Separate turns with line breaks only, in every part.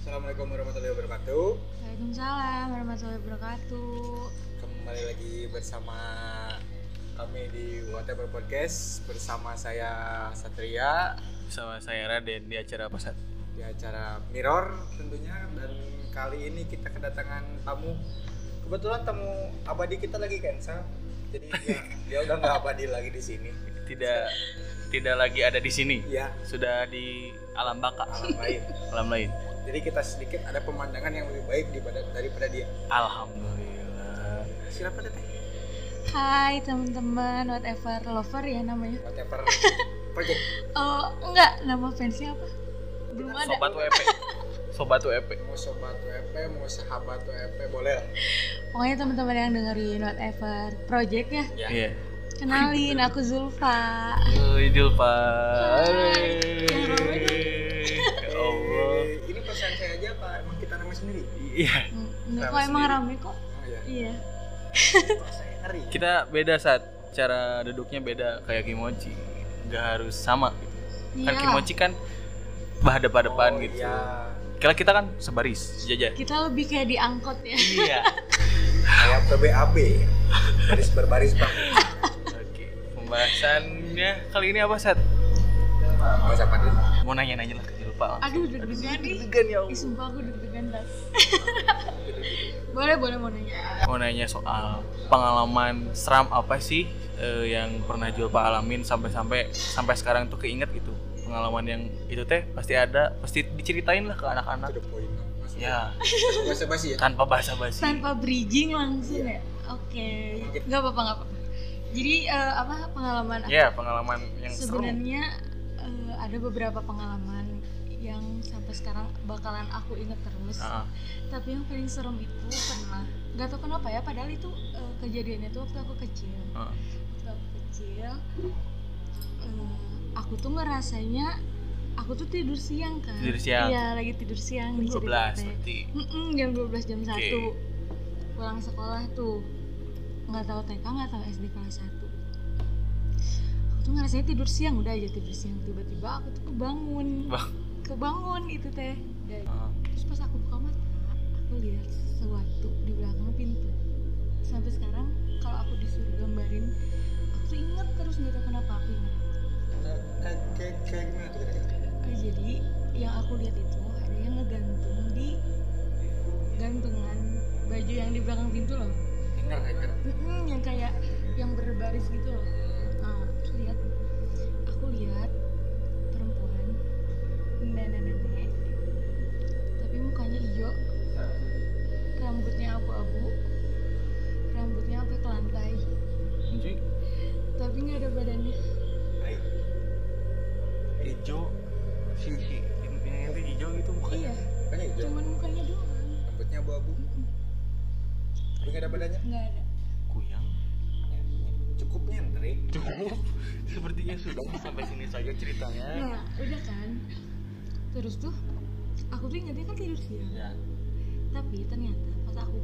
Assalamualaikum warahmatullahi wabarakatuh.
Waalaikumsalam warahmatullahi wabarakatuh.
Kembali lagi bersama kami di Whatever Podcast bersama saya Satria
sama saya Raden di acara apa Sat?
di acara Mirror tentunya dan kali ini kita kedatangan tamu kebetulan tamu abadi kita lagi cancel jadi dia, dia udah nggak abadi lagi di sini
Tidak tidak lagi ada di sini.
ya
Sudah di alam baka,
alam lain
alam lain.
jadi kita sedikit ada pemandangan yang lebih baik daripada daripada dia
Alhamdulillah.
silakan teteh
Hai teman-teman whatever lover ya namanya.
whatever project
Oh enggak nama fansnya apa? Belum ada.
Sobat WP. Sobat WP.
mau sobat WP mau sahabat WP boleh lah
Pokoknya teman-teman yang dengerin whatever project ya
ya
Iya.
kenalin aku Zulfa.
Hei Julpa.
Hai.
Ya Allah.
Eh, ini pesan saya aja apa emang kita nama sendiri
Iya.
Hmm, Enggak
Nama
kok emang
sendiri.
rame
oh
kok.
ya
Iya.
saya ngeri
Kita beda saat cara duduknya beda kayak kimochi. Gak harus sama gitu. Kan
Iya.
kimochi kan berhadapan-hadapan
Oh,
gitu.
iya.
Kalau kita kan sebaris sejajar.
Kita lebih kayak diangkut ya.
Iya.
kayak PBAB baris berbaris bang
Oke, pembahasannya kali ini apa, Sat?
mau siapa dulu
Mau nanya-nanya lah, jadi lupa.
Aduh deg-degan nih.
Deg-degan ya
Ih,
Allah.
sumpah aku deg-degan banget. boleh boleh mau nanya.
Mau nanya soal pengalaman seram apa sih eh, yang pernah Julpa alamin sampai-sampai sampai sekarang tuh keinget gitu. Pengalaman yang itu teh pasti ada, pasti diceritain lah ke anak-anak.
to the point maksudnya
Ya,
bahasa basi ya
tanpa basa-basi.
tanpa bridging langsung ya oke nggak apa-apa nggak apa-apa jadi eh, apa pengalaman aku?
Ya, pengalaman yang seru.
sebenarnya eh, ada beberapa pengalaman yang sampai sekarang bakalan aku inget terus
Ah,
tapi yang paling serem itu pernah nggak tahu kenapa ya padahal itu eh, kejadiannya tuh waktu aku kecil
ah.
waktu aku kecil eh, aku tuh ngerasanya aku tuh tidur siang kan
Tidur siang.
iya lagi tidur siang di
12
ceritanya.
berarti.
Mm-mm, jam 12 jam
Oke.
1 pulang sekolah tuh nggak tahu TK nggak tahu SD kelas 1 aku tuh ngerasanya tidur siang udah aja tidur siang tiba-tiba aku tuh kebangun
Bang.
kebangun itu teh Udah.
Ah.
terus pas aku buka mata aku lihat sesuatu di belakang pintu sampai sekarang kalau aku disuruh gambarin aku tuh inget terus nggak tahu kenapa aku inget
kayak kayak kayak gimana tuh kira-kira
Eh, jadi yang aku lihat itu ada yang ngegantung di gantungan baju yang di belakang pintu loh
dengar dengar
Mm-mm, yang kayak yang berbaris gitu loh nah, terus lihat aku lihat perempuan nenek-nenek tapi mukanya hijau rambutnya abu-abu rambutnya sampai ke lantai
Anjing,
tapi nggak ada badannya
Hai.
hijau. Si si ini itu hijau gitu mukanya.
iya
Mukanya hijau
cuman mukanya doang
rambutnya abu-abu
Mm-mm,
tapi nggak ada badannya
nggak ada
Kuyang.
cukup nyentrik
cukup sepertinya sudah sampai sini saja ceritanya
Nah, udah kan. Terus tuh aku tuh ingatnya kan tidur siang.
ya
Tapi ternyata pas aku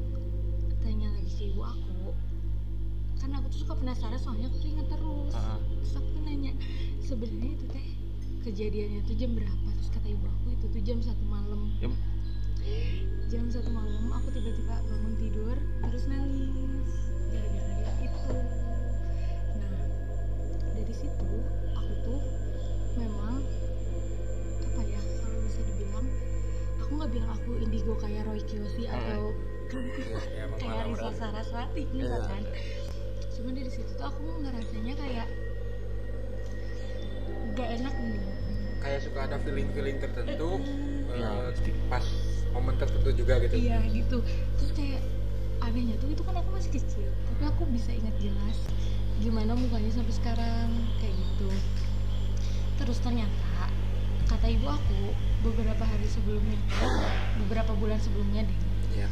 tanya lagi ke ibu aku, kan aku tuh suka penasaran soalnya aku tuh ingat terus.
Ah.
Terus aku tuh nanya, sebenarnya itu teh kejadiannya tuh jam berapa? Terus kata ibu aku itu tuh jam satu malam.
Jam?
Jam satu malam aku tiba-tiba bangun tidur terus nangis gara-gara lihat itu. Nah dari situ aku tuh memang apa ya kalau bisa dibilang aku nggak bilang aku indigo kayak Roy Kiyoshi
Hmm.
atau
ya emang
kayak
malam
Risa
berat.
Saraswati
Iya.
misalkan cuman dari situ tuh aku ngerasanya kayak gak enak nih
kayak suka ada feeling-feeling tertentu eh,
Iya.
pas momen tertentu juga gitu
iya gitu terus kayak anehnya tuh itu kan aku masih kecil tapi aku bisa ingat jelas gimana mukanya sampai sekarang kayak gitu terus ternyata kata ibu aku beberapa hari sebelumnya beberapa bulan sebelumnya deh
Iya.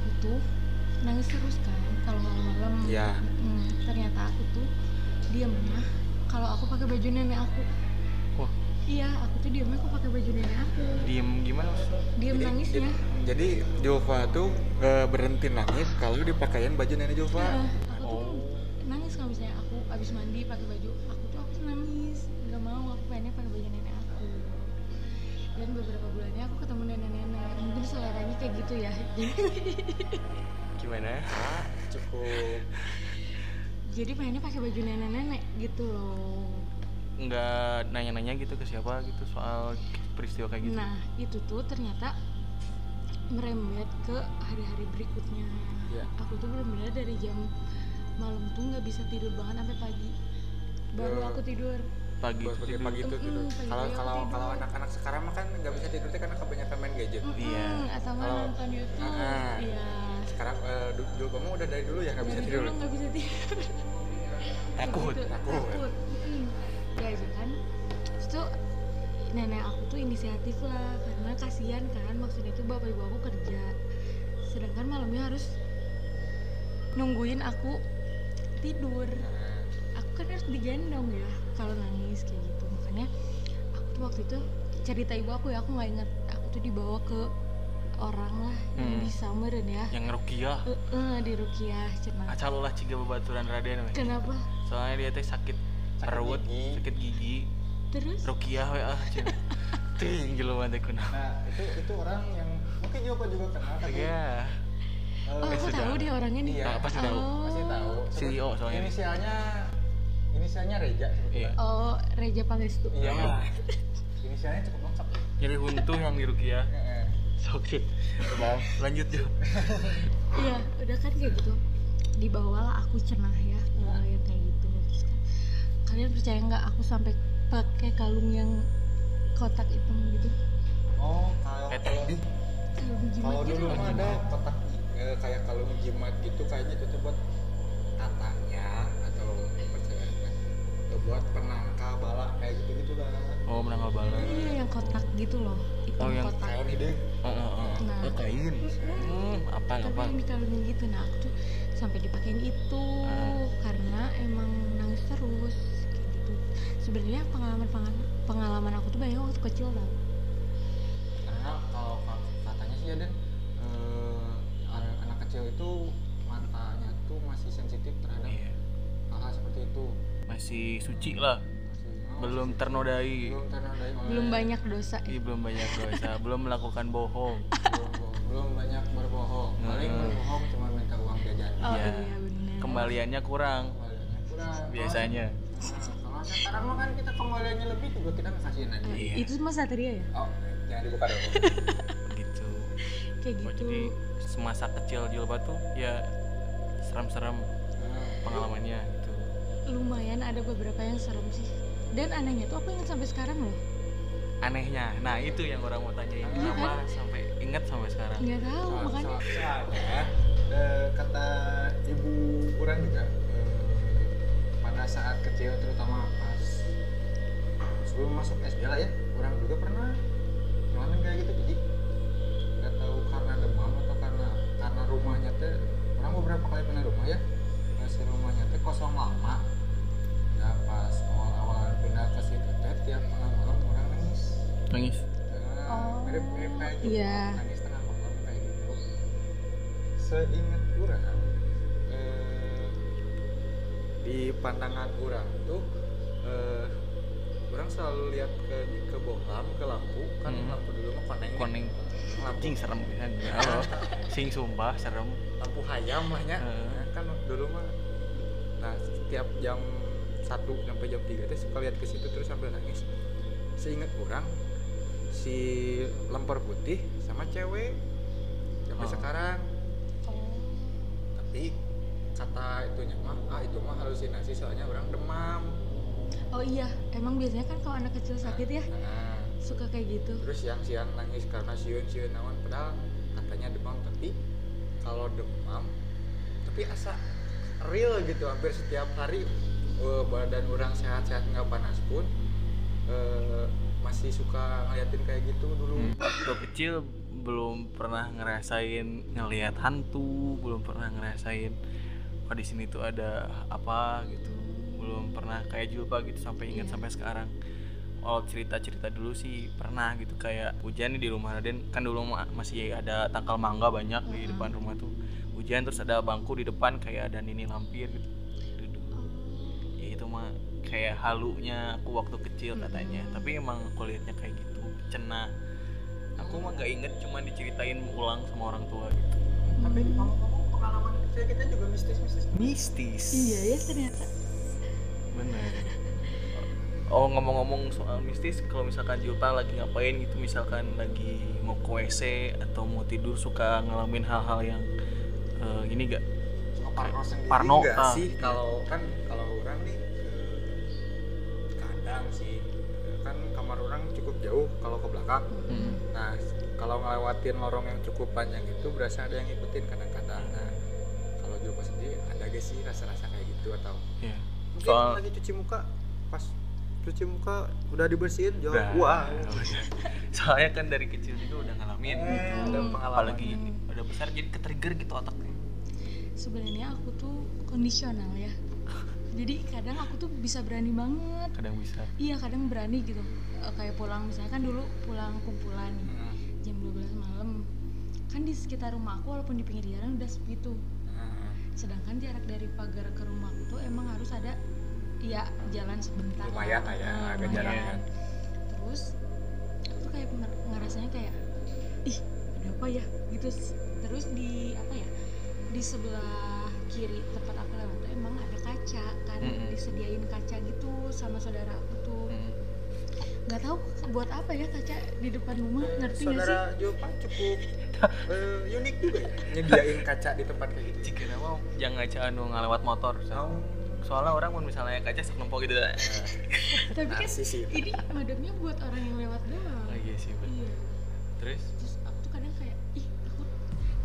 aku tuh nangis terus kan kalau malam-malam
Iya.
Hmm, ternyata aku tuh diemnya kalau aku pakai baju nenek aku
Wah.
iya aku tuh diemnya aku pakai baju nenek aku
diem gimana
diem ya.
Jadi-
nangisnya
jadi- Jadi Jova tuh eh, berhenti nangis kalau dipakein baju nenek Jova.
Nah, aku tuh
Oh.
nangis kalau misalnya aku abis mandi pakai baju aku tuh aku tuh nangis nggak mau aku pengennya pakai baju nenek aku dan beberapa bulannya aku ketemu nenek-nenek ini seleranya kayak gitu ya
gimana
Ah, cukup
jadi mainnya pakai baju nenek-nenek gitu loh
nggak nanya-nanya gitu ke siapa gitu soal peristiwa kayak gitu
nah itu tuh ternyata merembet ke hari-hari berikutnya
Iya.
aku tuh bener-bener dari jam malam tuh nggak bisa tidur banget sampai pagi baru
Eh,
aku tidur
pagi
buat
itu
pagi
tidur.
pagi itu
Mm-mm,
tidur
pagi
kalau
aku
kalau
tidur.
kalau anak-anak sekarang mah kan nggak bisa tidur teh karena kebanyakan main gadget
Mm-mm,
Iya.
atau nggak
Kalau-
nonton YouTube
Ah.
iya
sekarang eh, du- dulu kamu udah dari dulu ya nggak bisa
Dari
tidur
dulu nggak bisa tidur
takut
Gitu,
takut.
takut. Mm. ya itu kan Terus tuh nenek aku tuh inisiatif lah karena kasihan kan maksudnya tuh bapak ibu aku kerja sedangkan malamnya harus nungguin aku tidur
Nah,
aku kan harus digendong ya kalau nangis kayak gitu makanya aku tuh waktu itu cerita ibu aku ya aku nggak inget aku tuh dibawa ke orang lah yang
Hmm.
di Sameren ya
yang rukiah
Eh, eh, di Rukiah Cenah
acal ulah ciga babaturan raden we.
kenapa
soalnya dia teh sakit
Sakit
perut
gigi.
sakit gigi
terus
rukiah we ah cenah. ting jelema teh kuna
nah itu itu orang yang mungkin juga juga kenal tapi
ya
eh,
Oh,
Eh,
aku
sudah.
tahu dia orangnya nih.
Iya,
pasti tahu.
Oh.
pasti tahu
CEO soalnya.
inisialnya inisialnya Reja sebetulnya
Oh, Reja Pangestu.
iya
Iya.
inisialnya cukup lengkap
nyeri huntu yang di rukiah
Heeh.
sok Cik.
Bang.
lanjut yuk
Iya, udah kan kayak gitu. Dibawalah aku cenah ya,
Iya.
mulai kayak gitu. Terus kan, kalian percaya nggak aku sampai pakai kalung yang kotak hitam gitu?
oh kalau
Eh,
kalau-
tadi.
Kalung jimat
kalau
gitu.
dulu mah
loh.
ada kotak eh, kayak kalung jimat gitu kayaknya itu tuh buat tatanya atau percayaan buat penangkal bala kayak gitu gitu lah
oh menang bala
Iya, yang kotak gitu loh. Hitam
Oh, yang
kotak.
kayak ide
oh, oh, oh.
Nah.
Eh, kain hmm, apa
Tapi
apa
yang dikalungin gitu, nah aku tuh sampai dipakein itu
Ah.
karena emang nangis terus kayak gitu. Sebenarnya pengalaman pengalaman aku tuh banyak waktu kecil tau.
Ah.
karena kalau ka- katanya sih ya Den eh, anak anak kecil itu matanya tuh masih sensitif terhadap
Iya.
hal-hal seperti itu
masih suci lah
Masih- oh,
belum
masih-
ternodai
belum ternodai oleh-
Belum banyak dosa ya.
Ih, belum banyak dosa belum melakukan bohong
belum, belum banyak berbohong paling
Hmm.
berbohong cuma minta uang jajan
Oh
Iya.
iya, benar.
kembaliannya kurang
Kembaliannya kurang.
biasanya
Nah, kalau sekarang mah kan kita kembaliannya lebih juga kita ngekasihin aja
Iya.
Itu mah satria ya?
oh jangan dibuka dong
gitu
Kayak
Oh,
gitu.
jadi semasa kecil Julba tuh ya serem-serem pengalamannya gitu
Lumayan ada beberapa yang serem sih. Dan anehnya tuh aku ingat sampai sekarang loh.
anehnya nah itu yang orang mau tanyain
Iya
kenapa sampai inget sampai sekarang
Nggak tahu
Soal-
makanya.
soal- soalnya eh, kata ibu kurang juga eh, pada saat kecil terutama pas sebelum masuk SD lah ya kurang juga pernah ngalamin kayak gitu jadi nggak tahu karena demam atau karena karena rumahnya teh kurang beberapa kali pernah rumah ya eh, si rumahnya teh kosong lama nah pas awal awal pindah ke situ teh tiap malam malam kurang nangis
nangis
Oh,
mirip mirip kayak gitu
iya.
nangis tengah malam kayak gitu seingat kurang eh, di pandangan kurang tuh eh, orang selalu lihat ke ke bohlam ke lampu kan
Hmm.
lampu dulu mah koneng
koneng
lampu
anjing serem kan Ya Allah. sing sumpah serem
lampu hayam lah ya
Heeh.
Nah, kan dulu mah nah setiap jam 1 sampai jam 3 teh suka lihat ke situ terus sambil nangis seingat orang si lemper putih sama cewek sampai
Oh.
sekarang
Oh.
tapi kata itunya mah ah itu mah halusinasi soalnya orang demam
Oh iya, emang biasanya kan kalau anak kecil sakit ya
Nah,
suka kayak gitu.
terus yang siang nangis karena siun siun naon padahal katanya demam tapi kalau demam tapi asa real gitu hampir setiap hari eh, badan orang sehat-sehat nggak panas pun eh, masih suka ngeliatin kayak gitu dulu
hmm. waktu kecil belum pernah ngerasain ngelihat hantu belum pernah ngerasain oh di sini tuh ada apa gitu belum pernah kayak Julpa gitu sampai
Iya.
ingat sampai sekarang kalau cerita-cerita dulu sih pernah gitu kayak hujan nih di rumah Raden kan dulu ma- masih ada tangkal mangga banyak di
Mm-mm.
depan rumah tuh hujan terus ada bangku di depan kayak ada nini lampir gitu duduk ya itu mah kayak halunya aku waktu kecil katanya
Mm-mm.
tapi emang kulitnya kayak gitu cenah sampai aku mah gak inget cuman diceritain ulang sama orang tua gitu
Tapi ngomong-ngomong pengalaman kecil kita juga mistis-mistis.
mistis
iya ya ternyata
bener oh ngomong-ngomong soal mistis kalau misalkan Julpa lagi ngapain gitu misalkan lagi mau ke WC atau mau tidur suka ngalamin hal-hal yang eh, gini gak
Suka Parno sendiri
Parno,
nggak
ah,
sih?
iya.
Kalau kan kalau orang nih ke kadang sih kan kamar orang cukup jauh kalau ke belakang.
Hmm.
Nah, kalau ngelewatin lorong yang cukup panjang itu berasa ada yang ngikutin kadang-kadang. Nah, kalau Joko sendiri ada gak sih rasa-rasa kayak gitu atau
Iya.
mungkin
Soal-
lagi cuci muka pas cuci muka udah dibersihin jauh
Udah.
wah
iya. soalnya kan dari kecil juga udah ngalamin
Eh,
gitu
udah pengalaman.
apalagi ini udah besar jadi ketrigger gitu otaknya
sebenarnya aku tuh kondisional ya jadi kadang aku tuh bisa berani banget
kadang bisa
iya kadang berani gitu Eh, kayak pulang misalnya kan dulu pulang kumpulan nih, jam 12 malam kan di sekitar rumah aku walaupun di pinggir jalan udah sepi tuh sedangkan jarak dari pagar ke rumah itu emang harus ada ya jalan sebentar
Lumayan lah ya,
Eh,
agak
lumayan.
jarang kan.
terus aku tuh kayak nger- ngerasanya kayak ih ada apa ya gitu S- terus di apa ya di sebelah kiri tempat aku lewat tuh emang ada kaca kan
Mm-mm.
disediain kaca gitu sama saudara aku tuh
Mm.
Hmm.
nggak tahu buat apa ya kaca di depan rumah ngerti nggak sih
saudara Joko cukup eh, unik juga ya nyediain kaca di tempat kayak gitu
jika nama yang ngaca anu ngalewat motor Sa.
Tahu
soalnya orang mau misalnya kaca sok nempel gitu lah
tapi kan
narsis sih
ini madamnya buat orang yang lewat doang
iya sih bener.
iya
terus
terus aku tuh kadang kayak ih aku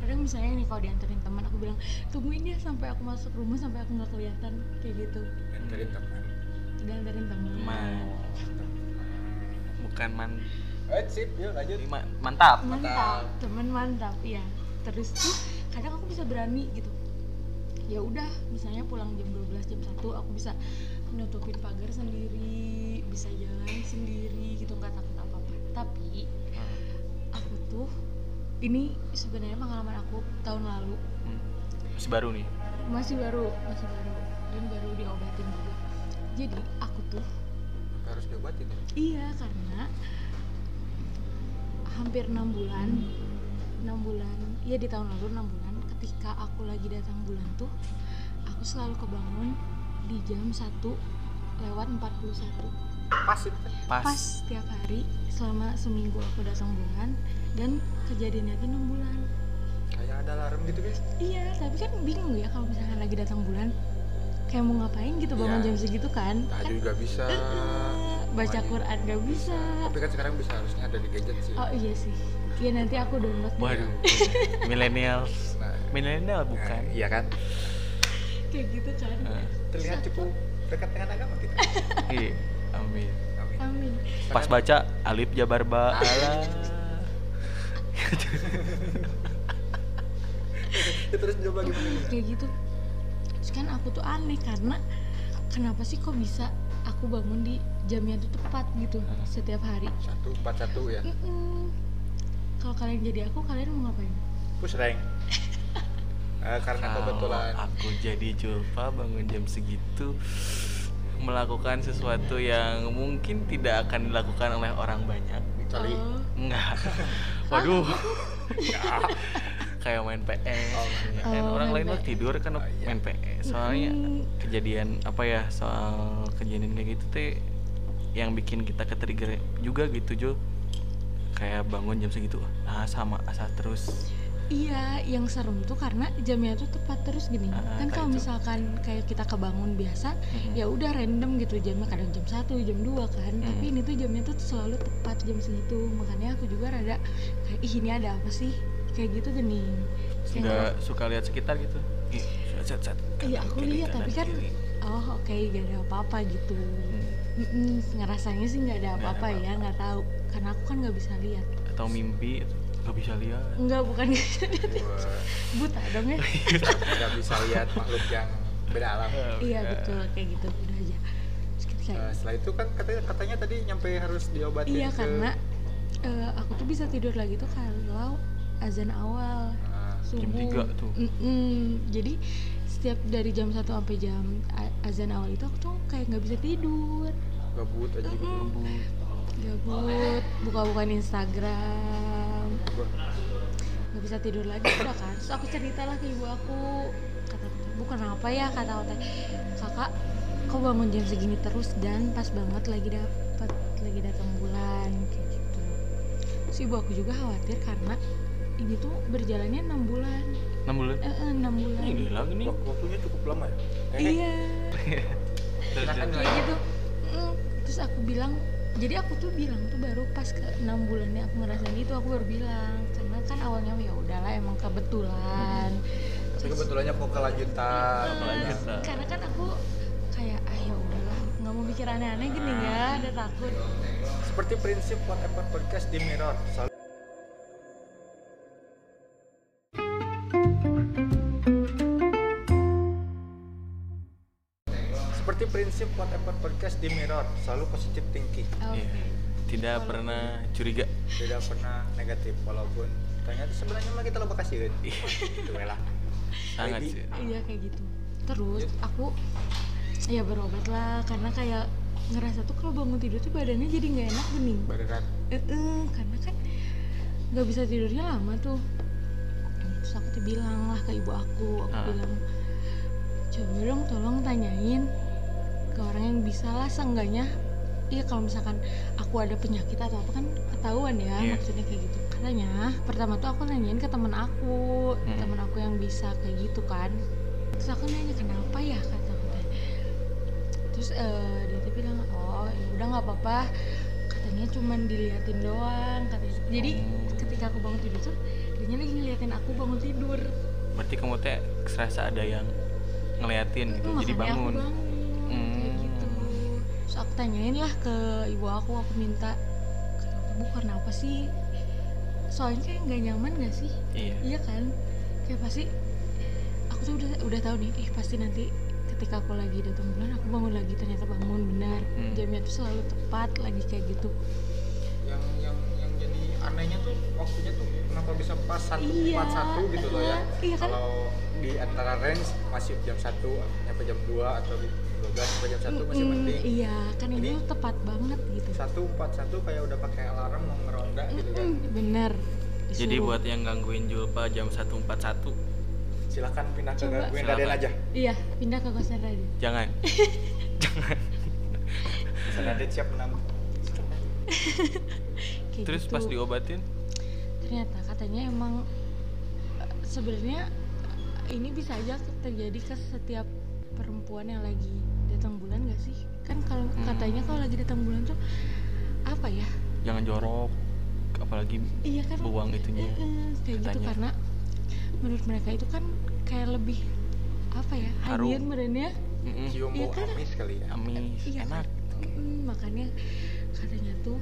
kadang misalnya nih kalau dianterin teman aku bilang tungguin ya sampai aku masuk rumah sampai aku nggak kelihatan kayak gitu
dan dari teman
dianterin teman
teman bukan man
Eh, sip, yuk lanjut.
ini ma- mantap
mantap
Mantap.
teman mantap ya terus tuh kadang aku bisa berani gitu ya udah misalnya pulang jam 12 jam 1 aku bisa nutupin pagar sendiri bisa jalan sendiri gitu nggak takut apa apa tapi aku tuh ini sebenarnya pengalaman aku tahun lalu
Hmm. masih baru nih
masih baru masih baru dan baru diobatin juga jadi aku tuh
Harus diobatin.
iya karena hampir enam bulan enam bulan iya di tahun lalu enam bulan ketika aku lagi datang bulan tuh aku selalu kebangun di jam 1 lewat 41
Pas itu kan.
pas,
pas tiap hari selama seminggu aku datang bulan dan kejadiannya tuh enam bulan
Kayak ada alarm gitu, guys.
Iya, tapi kan bingung ya kalau misalkan lagi datang bulan kayak mau ngapain gitu bangun
Iya.
jam segitu kan?
Tadi
Kan
juga bisa.
eh, baca
Makanya.
Quran gak bisa.
Tapi kan sekarang bisa harusnya ada di gadget sih.
Oh iya sih. Iya nanti aku download. deh.
waduh milenial
Nah,
milenial bukan
eh, iya kan?
Kayak gitu kan.
Eh,
Terlihat cukup dekat dengan agama kita.
iya amin
Amin.
Amin.
pas baca alif jabar ba ala
Ya, terus coba gimana?
Kayak gitu. Terus kan aku tuh aneh karena kenapa sih kok bisa aku bangun di jam yang tuh tepat gitu
Eh.
setiap hari?
Satu empat satu ya.
Mm-mm. Kalau kalian jadi aku, kalian mau ngapain?
Push rank. Eh, karena
kalau
kebetulan
aku jadi julpa bangun jam segitu melakukan sesuatu yang mungkin tidak akan dilakukan oleh orang banyak
kecuali
Oh,
Enggak. Waduh. Kayak main PS.
Oh,
ya kan?
Oh,
Orang
main
lain mah
PS.
tidur kan
Oh, iya.
main PS. Soalnya
Mm-mm.
kejadian apa ya soal kejadian kayak gitu teh yang bikin kita ketrigger juga gitu Jo kayak bangun jam segitu ah sama asal terus
Iya, yang serem tuh karena jamnya tuh tepat terus gini.
Ah,
kan
kayak
kalau
itu.
misalkan kayak kita kebangun biasa,
Mm-mm.
ya udah random gitu jamnya kadang jam 1, jam 2 kan. Tapi
Mm.
ini tuh jamnya tuh selalu tepat jam segitu. Makanya aku juga rada kayak ih ini ada apa sih? Kayak gitu gini.
nggak suka lihat sekitar gitu Ih, set, set,
Iya,
kanan,
aku
kiri,
lihat, tapi
kanan,
kan-
kiri.
Oh, oke, gak ada apa-apa gitu.
Hmm.
Mm-mm, ngerasanya sih nggak ada
Nggak ada
apa-apa ya,
apa-apa.
nggak tahu. Karena aku kan nggak bisa lihat.
atau mimpi nggak bisa lihat
Enggak, bukan nggak bisa lihat. buta dong ya.
nggak bisa lihat makhluk yang beda alam.
iya, betul kayak gitu. Udah aja. Terus kita
Eh, setelah itu kan katanya katanya tadi nyampe harus diobatin
Iya
ke
karena eh, aku tuh bisa tidur lagi tuh kalau azan awal
Ah,
subuh.
tiga tuh.
Mm-mm. Jadi setiap dari jam 1 sampai jam a- azan awal itu aku tuh kayak nggak bisa tidur,
gabut aja gitu.
Mm-mm. gabut, buka-bukaan Instagram,
ngobrol
nggak bisa tidur lagi udah kan terus aku ceritalah ke ibu aku kata bukan apa ya kata Ote kakak kau bangun jam segini terus dan pas banget lagi dapat lagi datang bulan kayak gitu terus ibu aku juga khawatir karena ini tuh berjalannya enam bulan
6 bulan
eh, eh, enam bulan
ini lagi nih
Wak- waktunya cukup lama ya
iya
silakan
kayak gitu Mm, terus aku bilang jadi aku tuh bilang tuh baru pas ke enam bulannya aku ngerasain gitu aku baru bilang karena kan awalnya ya udahlah emang kebetulan
tapi
Terus- eh,
kebetulannya kok kelanjutan
lanjut, nah.
karena kan aku kayak ah ya udahlah nggak mau mikir aneh-aneh gini ya udah takut
seperti prinsip whatever podcast di mirror Sal- seperti prinsip whatever podcast di mirror selalu positive thinking
oke gitu.
Iya. tidak pernah curiga
tidak pernah negatif walaupun ternyata sebenarnya mah kita lupa kasih itu lah
sangat
Jadi-
sih
iya kayak gitu terus aku ya berobat lah karena kayak ngerasa tuh kalau bangun tidur tuh badannya jadi nggak enak bening
berat
eh eh, karena kan nggak bisa tidurnya lama tuh terus aku tuh bilang lah ke ibu aku aku
Ah.
bilang coba dong tolong tanyain ke orang yang bisa lah seenggaknya iya kalau misalkan aku ada penyakit atau apa kan ketahuan ya
Iya.
maksudnya kayak gitu katanya pertama tuh aku nanyain ke teman aku
Mm.
teman aku yang bisa kayak gitu kan terus aku nanya kenapa ya kata aku teh terus eh, dia tuh bilang oh ya udah nggak apa-apa katanya cuman diliatin doang katanya jadi ketika aku bangun tidur tuh dia lagi ngeliatin aku bangun tidur
berarti kamu teh serasa ada yang ngeliatin gitu jadi
Makanya
bangun
aku bangun kayak
Hmm.
gitu terus aku tanyain lah ke ibu aku aku minta "Kenapa, bu kenapa sih soalnya kayak nggak nyaman gak sih
iya
iya kan kayak pasti aku tuh udah udah tahu nih ih pasti nanti ketika aku lagi datang bulan aku bangun lagi ternyata bangun benar
Hmm.
jamnya tuh selalu tepat lagi kayak gitu
yang yang yang jadi anehnya tuh waktunya tuh kenapa bisa pas satu
Iya,
empat satu gitu loh ya
iya, iya kan?
kalau di antara range masih jam satu nyampe jam 2 atau dua belas sampai jam satu masih
Mm,
penting
iya kan ini
Jadi-
tuh tepat banget gitu
satu empat satu kayak udah pakai alarm mau ngeronda gitu kan
Mm, bener
jadi
Disuruh.
buat yang gangguin Julpa jam 141
silakan pindah ke
Coba.
Gwen Raden
Silakan.
aja
iya pindah ke kosan tadi
jangan
Gwen Raden siap menanggung
kayak
terus
gitu.
pas diobatin
ternyata katanya emang eh, sebenarnya eh, ini bisa aja terjadi ke setiap perempuan yang lagi datang bulan gak sih kan kalau
Hmm.
katanya kalau lagi datang bulan tuh apa ya
jangan jorok apalagi
iya kan
buang itunya
eh, kayak gitu
katanya.
karena menurut mereka itu kan kayak lebih apa ya
Harum.
hadian badannya
Mm-mm.
cium
Iya
bau
kan?
amis kali ya
amis
Iya.
enak
Mm, makanya katanya tuh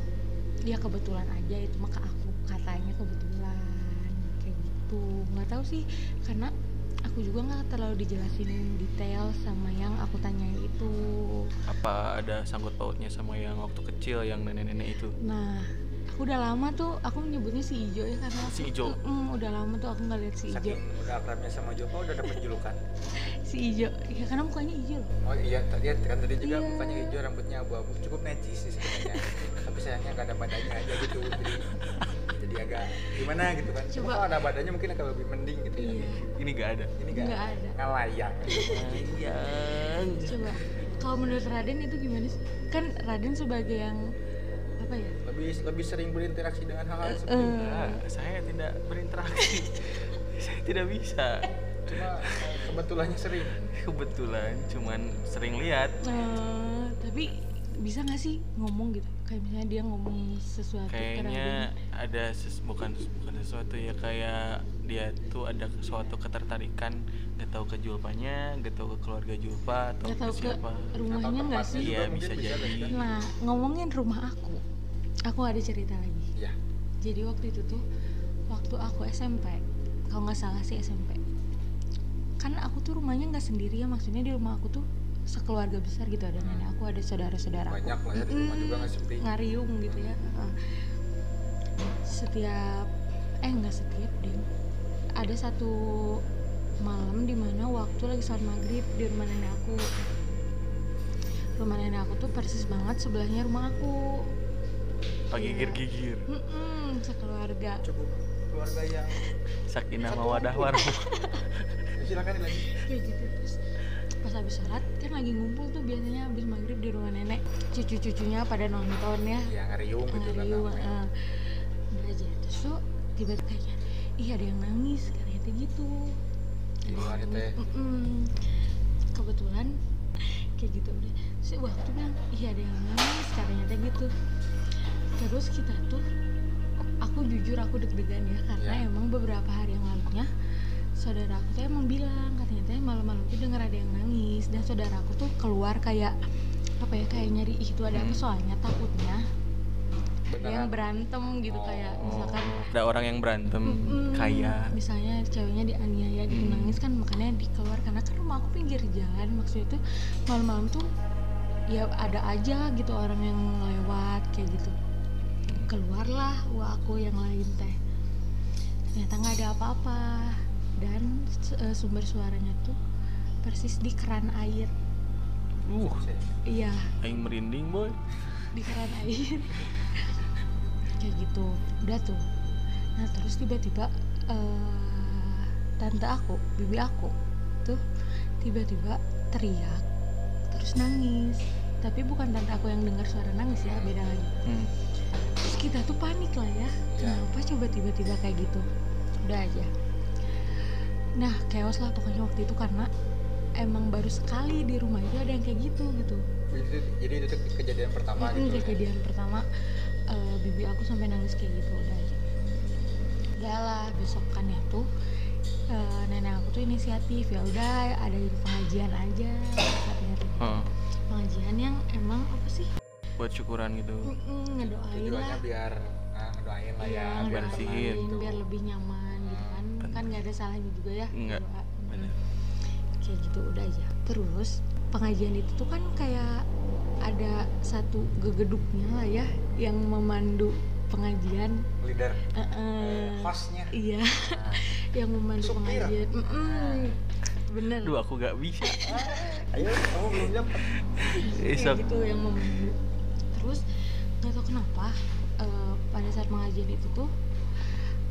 ya kebetulan aja itu maka aku katanya kebetulan kayak gitu nggak tahu sih karena aku juga nggak terlalu dijelasin detail sama yang aku tanyain itu
apa ada sangkut pautnya sama yang waktu kecil yang nenek-nenek itu
nah aku udah lama tuh aku menyebutnya si Ijo ya karena
Si Ijo.
Mm, udah lama tuh aku nggak lihat si Ijo
saking udah akrabnya sama Joko udah dapet julukan
si Ijo ya karena mukanya Ijo loh
oh iya tadi kan tadi juga
Iya.
mukanya hijau rambutnya abu-abu cukup necis sih sebenarnya tapi sayangnya gak ada badannya aja gitu jadi, jadi agak gimana gitu kan cuma
Coba.
kalau ada badannya mungkin agak lebih mending gitu ya
iya
ini gak ada
ini gak
Nggak ada.
nggak layak
Iya.
Iya.
coba kalau menurut Raden itu gimana sih kan Raden sebagai yang apa ya
lebih lebih sering berinteraksi dengan hal-hal seperti itu
eh,
Nah, saya tidak berinteraksi saya tidak bisa
cuma eh, kebetulannya sering
kebetulan cuman sering lihat
Eh, tapi bisa nggak sih ngomong gitu kayak misalnya dia ngomong sesuatu ke
kayaknya
Raden.
ada ses- bukan bukan sesuatu ya kayak dia tuh ada suatu ketertarikan gak tahu ke Julpanya gak tahu ke keluarga Julpa atau
nggak tahu
ke
ke
siapa
rumahnya
Atau
nggak
tempatnya
sih
juga
Iya,
mungkin
bisa jadi.
kan?
nah ngomongin rumah aku aku ada cerita lagi
Iya.
jadi waktu itu tuh waktu aku SMP kalau nggak salah sih SMP kan aku tuh rumahnya nggak sendiri ya maksudnya di rumah aku tuh sekeluarga besar gitu ada nenek aku ada saudara saudara
banyak lah ya di rumah juga nggak sepi
ngariung gitu ya Heeh. setiap eh nggak setiap deh ada satu malam dimana waktu lagi sholat maghrib di rumah nenek aku rumah nenek aku tuh persis banget sebelahnya rumah aku
pagi gigir gigir
Mm-mm, sekeluarga
cukup keluarga yang
sakinah mawadah warahmah
Ya, silakan lagi
ya gitu terus pas habis sholat kan lagi ngumpul tuh biasanya habis maghrib di rumah nenek cucu-cucunya pada nonton ya
yang ngeriung gitu kan
ngeriung
rame.
eh. Udah aja terus tuh tiba-tiba kayaknya iya ada yang nangis katanya tuh gitu
Di luar itu ya?
Mm-mm. kebetulan kayak gitu udah si waktu bilang iya ada yang nangis katanya tuh gitu terus kita tuh aku jujur aku deg-degan ya karena
Iya.
emang beberapa hari yang lalunya saudara aku tuh emang bilang katanya tuh malam-malam tuh denger ada yang nangis dan saudara aku tuh keluar kayak apa ya kayak nyari "Ih, itu ada apa
Hmm.
soalnya takutnya ada
beneran
yang berantem gitu
Oh. Hmm,
kayak misalkan
ada orang yang berantem
mm,
kaya
misalnya ceweknya dianiaya gitu
Mm.
nangis kan makanya dikeluar karena kan rumah aku pinggir jalan maksudnya tuh malam-malam tuh ya ada aja gitu orang yang lewat kayak gitu keluarlah wah aku yang lain teh ternyata nggak ada apa-apa dan eh, sumber suaranya tuh persis di keran air
uh
Sih.
iya
aing merinding boy
di keran air kayak gitu udah tuh nah terus tiba-tiba eh, tante aku bibi aku tuh tiba-tiba teriak terus nangis tapi bukan tante aku yang dengar suara nangis ya beda lagi
Hmm.
terus kita tuh panik lah ya
Ya.
kenapa coba tiba-tiba kayak gitu udah aja nah chaos lah pokoknya waktu itu karena emang baru sekali di rumah itu ada yang kayak gitu gitu
Jadi, jadi itu tuh kejadian pertama
Mm-mm,
gitu ya?
kejadian pertama eh, bibi aku sampai nangis kayak gitu udah aja udah lah besokannya tuh eh, nenek aku tuh inisiatif ya udah ada pengajian aja katanya tuh
Heeh.
pengajian yang emang apa sih
buat syukuran gitu
Mm-mm, ngedoain
tujuannya
lah
biar ah, ngedoain lah ya
Iya,
biar
ngedoain,
bersihin.
tenang gitu.
biar lebih nyaman gitu kan
Bener.
kan nggak ada salahnya juga ya
Nggak,
berdoa. Mm-mm.
bener.
kayak gitu udah aja terus pengajian itu tuh kan kayak ada satu gegeduknya lah ya yang memandu pengajian
leader
Eh, eh,
eh, hostnya Nah.
iya yang memandu
Supir.
pengajian Mm-mm. bener
aduh aku gak bisa
Nah, ayo kamu belum dapat
Kayak
Isok.
gitu yang memandu terus nggak tahu kenapa eh, pada saat pengajian itu tuh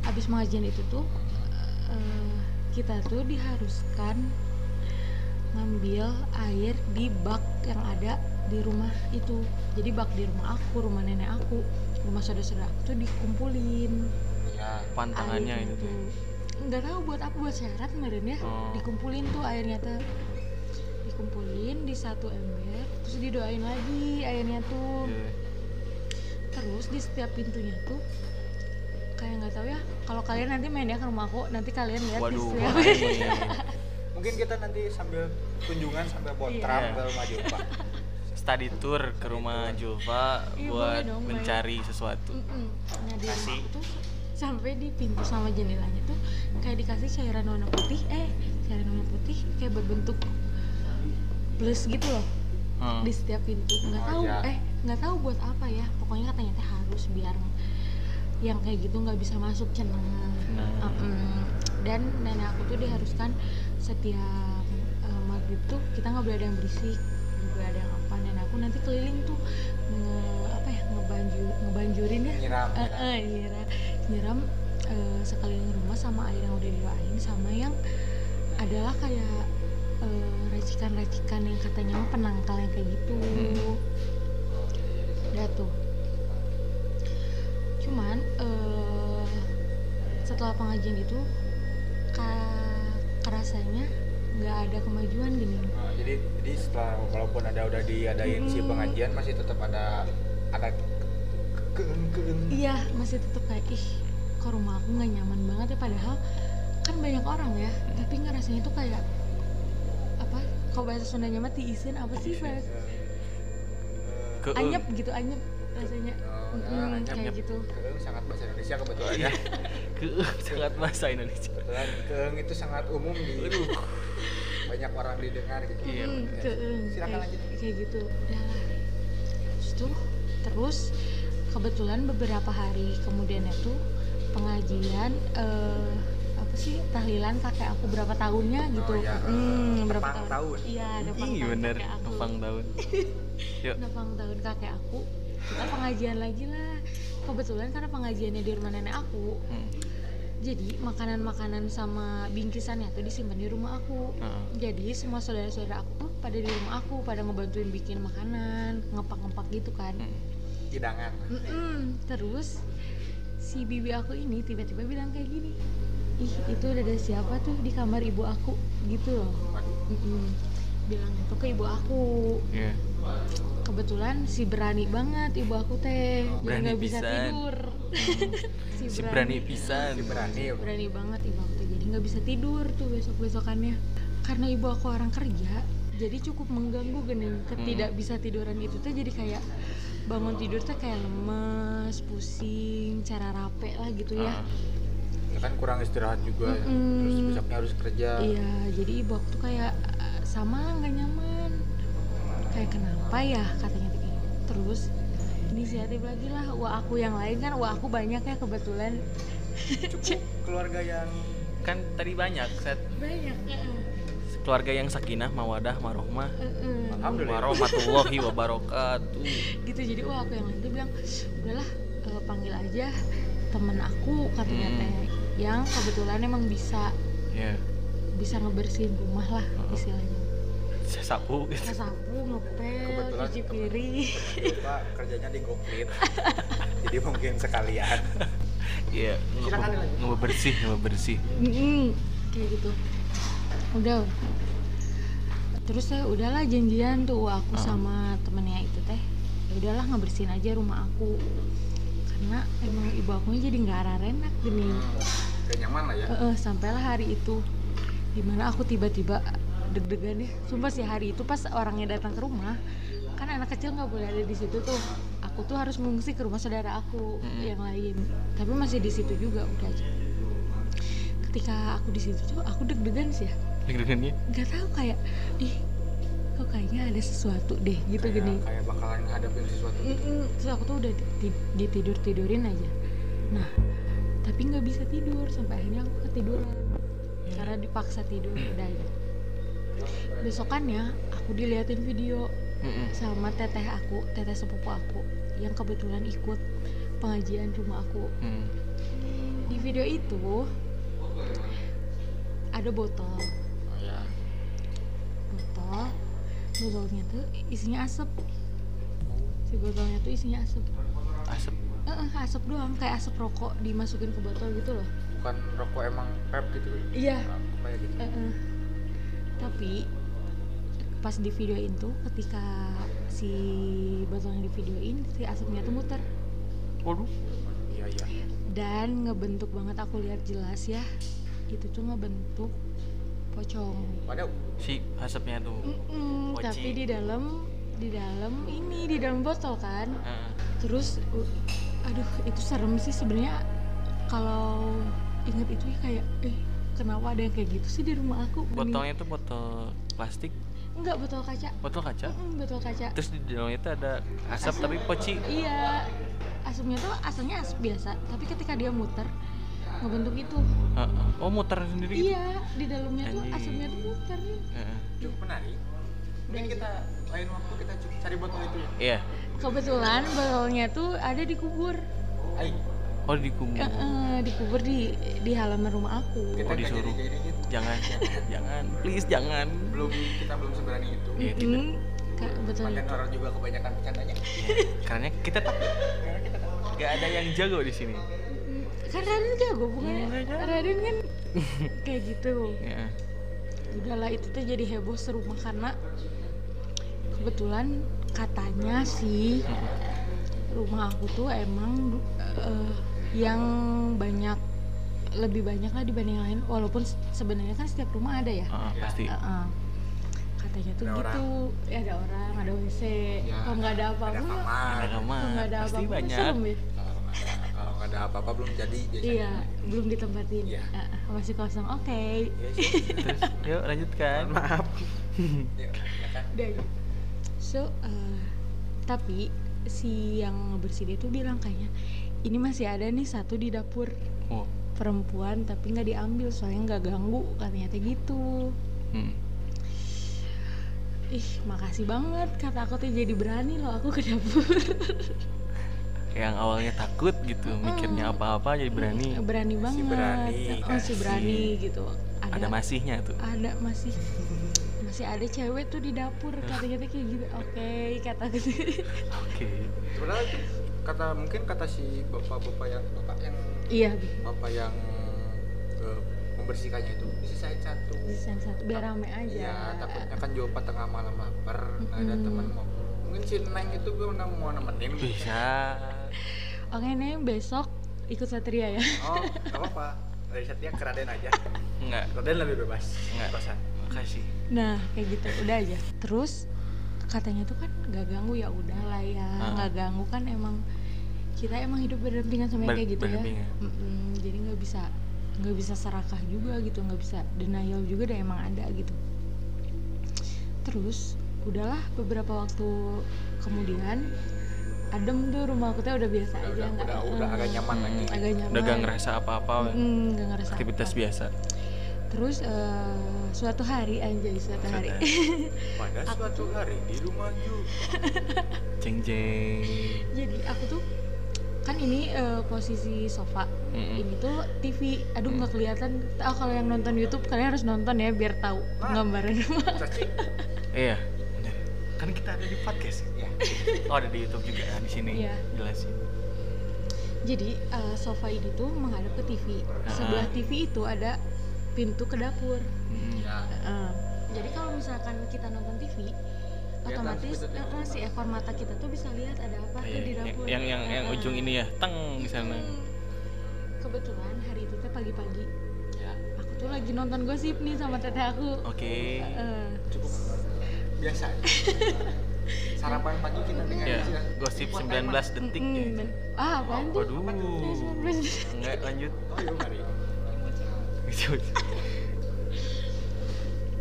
habis pengajian itu tuh eh, kita tuh diharuskan ngambil air di bak yang ada di rumah itu jadi bak di rumah aku rumah nenek aku rumah saudara-saudara aku tuh dikumpulin
ya
pantangannya
airnya
itu tuh
Hmm. nggak tahu buat apa buat syarat meren ya
Oh.
dikumpulin tuh airnya tuh dikumpulin di satu ember terus didoain lagi airnya tuh
Iya.
terus di setiap pintunya tuh kayak nggak tahu ya kalau kalian nanti main ya ke rumah aku nanti kalian lihat ya. di
waduh
setiap
aing.
mungkin kita nanti sambil kunjungan sambil
Iya.
bontram ke rumah Jumpa
study tour ke rumah Jova
Iya,
buat
boleh dong, Mai.
mencari sesuatu
Mm-mm. nah di rumah
Kasih.
aku tuh sampai di pintu sama jendelanya tuh kayak dikasih cairan warna putih eh cairan warna putih kayak berbentuk plus gitu loh
Hmm.
di setiap pintu nggak
Oh,
tahu
iya.
eh nggak tahu buat apa ya pokoknya katanya teh harus biar yang kayak gitu nggak bisa masuk cenah
Nah.
Mm-mm. dan nenek aku tuh diharuskan setiap eh, maghrib tuh kita nggak boleh ada yang berisik nggak boleh ada yang apa nenek aku nanti keliling tuh nge, apa ya ngebanjur ngebanjurin ya
nyiram
Eh, eh, nyiram nyiram eh, sekeliling rumah sama air yang udah didoain sama yang adalah kayak eh, racikan-racikan yang katanya mah penangkal yang kayak gitu
Hmm.
udah tuh cuman eh, setelah pengajian itu ka- kerasanya nggak ada kemajuan gini
Nah, jadi jadi setelah walaupun ada udah diadain si
Mm-mm.
pengajian masih tetap ada ada keun keun
iya masih tetap kayak ih kok rumah aku nggak nyaman banget ya padahal kan banyak orang ya tapi ngerasanya tuh kayak apa kalau bahasa Sundanya mah tiisin apa sih bahasa
Iya.
Keung.
anyep gitu anyep rasanya
Oh, ya,
Mm,
anyep,
kayak
anyep.
gitu Iya.
keun sangat bahasa Indonesia kebetulan ya
Keuh, sangat bahasa Indonesia
kebetulan keung itu sangat umum di
aduh
banyak orang didengar gitu
Iya,
Mm,
bener.
keeng,
Silakan
kayak,
lanjut.
kayak gitu udah lah. terus tuh terus kebetulan beberapa hari kemudiannya tuh pengajian eh, apa sih tahlilan kakek aku berapa tahunnya gitu
Oh, iya.
Hmm, berapa
Tepang tahun.
iya depang
Ih,
tahun
bener
kakek aku
numpang tahun yuk
depang tahun kakek aku kita pengajian lagi lah kebetulan karena pengajiannya di rumah nenek aku
Hmm.
jadi makanan-makanan sama bingkisannya tuh disimpan di rumah aku
Heeh.
jadi semua saudara-saudara aku tuh pada di rumah aku pada ngebantuin bikin makanan ngepak-ngepak gitu kan
Mm.
hidangan
Mm-mm. terus si bibi aku ini tiba-tiba bilang kayak gini ih itu udah ada siapa tuh di kamar ibu aku gitu loh
waduh
Mm-mm. bilang itu ke ibu aku
Iya.
kebetulan si berani banget ibu aku teh jadi
Berani
nggak bisa
pisan. Hmm.
tidur
si berani pisan
si berani
berani banget ibu aku tuh jadi nggak bisa tidur tuh besok besokannya karena ibu aku orang kerja jadi cukup mengganggu gening ketidak bisa tiduran itu tuh jadi kayak bangun tidur tuh kayak lemes pusing cara rape lah gitu ya
ya
Heeh.
kan kurang istirahat juga ya.
Mm-mm.
terus besoknya harus kerja
iya jadi ibu aku tuh kayak eh, sama nggak nyaman kayak kenapa ya katanya tuh kayak gitu. terus inisiatif lagi lah wah aku yang lain kan wah aku banyak ya kebetulan
cukup keluarga yang
kan tadi banyak set
banyak
keluarga yang sakinah mawadah marohmah
alhamdulillah
warahmatullahi wabarakatuh
gitu jadi wah aku yang lain dia bilang udahlah eh, panggil aja temen aku katanya
Hmm.
teh yang kebetulan emang bisa
Iya.
ya
bisa ngebersihin rumah lah
Heeh.
istilahnya
saya sapu gitu.
ngesapu ngepel
Kebetulan
cuci
temen.
piring
lupa kerjanya di goklit jadi mungkin sekalian
Iya,
Silakan lanjut.
nggak bersih, nggak bersih.
Mm-mm, kayak gitu udah terus saya udahlah janjian tuh wah, aku
Heeh.
sama temennya itu teh ya udahlah ngebersihin aja rumah aku karena emang ibu akunya jadi nggak arah enak gini
kayak nyaman lah ya
Heeh, sampailah hari itu dimana aku tiba-tiba deg-degan ya sumpah sih hari itu pas orangnya datang ke rumah kan anak kecil nggak boleh ada di situ tuh aku tuh harus mengungsi ke rumah saudara aku
Mm-mm.
yang lain tapi masih di situ juga udah aja ketika aku di situ tuh aku deg-degan sih ya
Deg-degannya.
nggak tahu kayak ih kok kayaknya ada sesuatu deh gitu
kayak,
gini
kayak bakalan ngadepin sesuatu
Mm-mm. Iya, terus aku tuh udah ditidur tidurin aja nah tapi nggak bisa tidur sampai akhirnya aku ketiduran karena dipaksa tidur udah aja besokannya aku diliatin video
Mm-mm.
sama teteh aku teteh sepupu aku yang kebetulan ikut pengajian rumah aku
Hmm.
Mm.
di video itu ada botol
oh ya
botol botolnya tuh isinya asap si botolnya tuh isinya asap
Asap.
Eh, eh, asap doang kayak asap rokok dimasukin ke botol gitu loh
bukan rokok emang pep gitu
iya
Nah, kayak gitu
Eh, eh. tapi pas di videoin tuh ketika si botolnya di videoin si asapnya tuh muter
Waduh.
iya iya
dan ngebentuk banget aku lihat jelas ya itu tuh ngebentuk pocong
waduh
Si asapnya tuh.
Hmm. Mm-mm,
Poci.
tapi di dalam di dalam ini di dalam botol kan
Heeh.
terus u- aduh itu serem sih sebenarnya kalau ingat itu ya kayak eh kenapa ada yang kayak gitu sih di rumah aku Bening.
Botolnya tuh botol plastik,
enggak botol kaca
botol kaca.
Mm-mm, botol kaca
Terus di dalamnya tuh ada asap tapi poci.
iya asapnya tuh asalnya asap biasa tapi ketika dia muter ngebentuk itu
Heeh. Oh muter sendiri. gitu.
iya di dalamnya tuh
Anjing.
asapnya tuh muter
Heeh.
cukup menarik mungkin
Udah aja.
kita lain waktu kita cu- cari botol itu ya
Iya.
kebetulan botolnya tuh ada dikubur
Ayo,
Oh dikubur.
Eh, eh, dikubur di di halaman rumah
kita
aku
Oh,
nggak jadi
disuruh.
jadi gitu
Jangan, jangan, please jangan.
belum kita belum seberani itu
Iya tidak.
Mm, ke- betul
makan orang juga kebanyakan bercandanya
Karena kita takut.
karena kita takut
Gak ada yang jago di sini.
Mm, kan Raden jago bukan Raden kan kayak gitu
Iya.
udahlah itu tuh jadi heboh serumah karena kebetulan katanya sih rumah aku tuh emang eh, yang banyak lebih banyak lah dibanding yang lain walaupun se- sebenarnya kan setiap rumah ada ya
Heeh, pasti.
Heeh. katanya tuh
Ada
gitu ya ada orang ada wc
Ya,
kalau nggak ada
ada
apa-apa
kamar
Ada
kalau nggak
kamar.
ada
Pasti
apa-apa
banyak.
serem ya
kalau nggak ada kalau nggak ada apa-apa belum jadi biasanya
iya belum ditempatin
Iya.
Heeh, masih kosong oke
Iya sih.
Terus, yuk lanjutkan.
maaf ya, ya kan
Udah gitu. aja. So, eh, tapi si yang ngebersihin itu bilang kayaknya ini masih ada nih satu di dapur
Oh.
perempuan tapi nggak diambil soalnya nggak ganggu katanya teh gitu.
Hmm.
Ih, makasih banget kata aku tuh jadi berani loh aku ke dapur.
yang awalnya takut gitu mikirnya apa-apa jadi berani
berani banget
berani,
oh si
kasih.
berani gitu ada,
ada masihnya tuh
ada masih masih ada cewek tuh di dapur kata-kata kayak gitu oke kata gitu
oke
sebenarnya itu kata mungkin kata si bapak-bapak yang bapak yang
iya
bapak yang eh, membersihkannya itu disisain satu
desain satu biar rame aja
Iya, takutnya kan jawaban tengah malam lapar nggak ada
Mm-mm.
teman mau mungkin si neng itu gue udah mau nemenin
Iya. bisa
oke Neng, besok ikut satria ya
oh nggak apa-apa dari setia ke Raden aja
nggak
Raden lebih bebas
Nggak.
kosan
makasih
nah kayak gitu udah aja terus katanya tuh kan gak ganggu ya udah lah ya
Ah.
nggak ganggu kan emang kita emang hidup berdampingan sama yang
Ber-
kayak gitu ya
berdampingan.
Mm-mm, jadi nggak bisa nggak bisa serakah juga gitu nggak bisa denial juga deh emang ada gitu terus udahlah beberapa waktu kemudian adem tuh rumah aku tuh udah biasa
udah
aja
udah
nggak-
udah, udah agak nyaman
Mm,
lagi
agak nyaman
udah gak ngerasa apa-apa
Mm, nggak ngerasa
aktivitas
apa.
biasa
terus eh, suatu hari anjay suatu hari
Pada suatu hari di rumah juga
jeng jeng
jadi aku tuh kan ini eh, posisi sofa
Hmm.
ini tuh TV aduh nggak kelihatan oh, kalau yang nonton YouTube kalian harus nonton ya biar tahu gambaran
Cacing.
iya
kan kita ada di podcast
ya
oh ada di YouTube juga di sini
Iya.
jelasin
jadi eh, sofa ini tuh menghadap ke TV sebelah
Ah.
TV itu ada pintu ke dapur
Mm-mm.
ya
Heeh.
Ah.
jadi kalau misalkan kita nonton TV otomatis
sebetulnya.
eh, eh, si ekor mata kita tuh bisa lihat ada apa
Ah,
tuh di
iya.
dapur
yang yang yang
Heeh.
ujung ini ya teng di sana
Hmm. kebetulan hari itu teh pagi-pagi
ya
aku tuh lagi nonton gosip nih sama teteh aku Eh,
oke
Heeh.
cukup biasa aja. sarapan pagi kita dengan
ya
isi-
gosip
Buat
19
emang.
detik
Mm-mm,
ya itu.
ben- ah apaan tuh
waduh
Apaan tuh? Nah, 19 detik.
enggak lanjut
oh yuk mari
Gitu.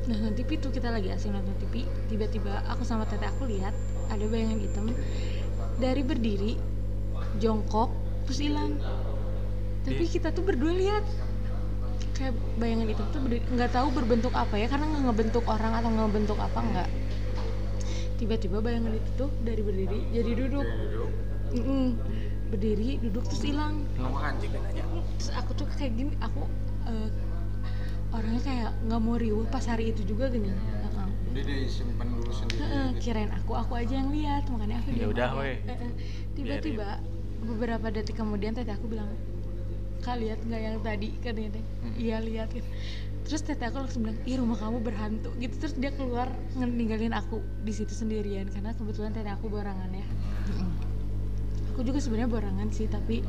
nah nanti itu kita lagi asing nonton TV tiba-tiba aku sama teteh aku lihat ada bayangan hitam dari berdiri jongkok terus hilang tapi
Iya.
kita tuh berdua lihat kayak bayangan hitam tuh berdiri- nggak tahu berbentuk apa ya karena nggak ngebentuk orang atau nggak ngebentuk apa nggak tiba-tiba bayangan itu tuh dari berdiri jadi duduk Mm-mm. berdiri duduk terus hilang
ngomong anjing kan nanya
terus aku tuh kayak gini aku eh, orangnya kayak nggak mau riuh pas hari itu juga gini Heeh.
dia disimpan dulu sendiri
Heeh,
gitu.
kirain aku aku aja yang lihat makanya aku
Ya
diem
udah,
aja.
weh.
Heeh. tiba-tiba beberapa detik kemudian teteh aku bilang kak lihat nggak yang tadi katanya teh iya lihat gitu. terus teteh aku langsung bilang ih rumah kamu berhantu gitu terus dia keluar nge- ninggalin aku di situ sendirian karena kebetulan teteh aku borangan ya Heeh. aku juga sebenarnya borangan sih tapi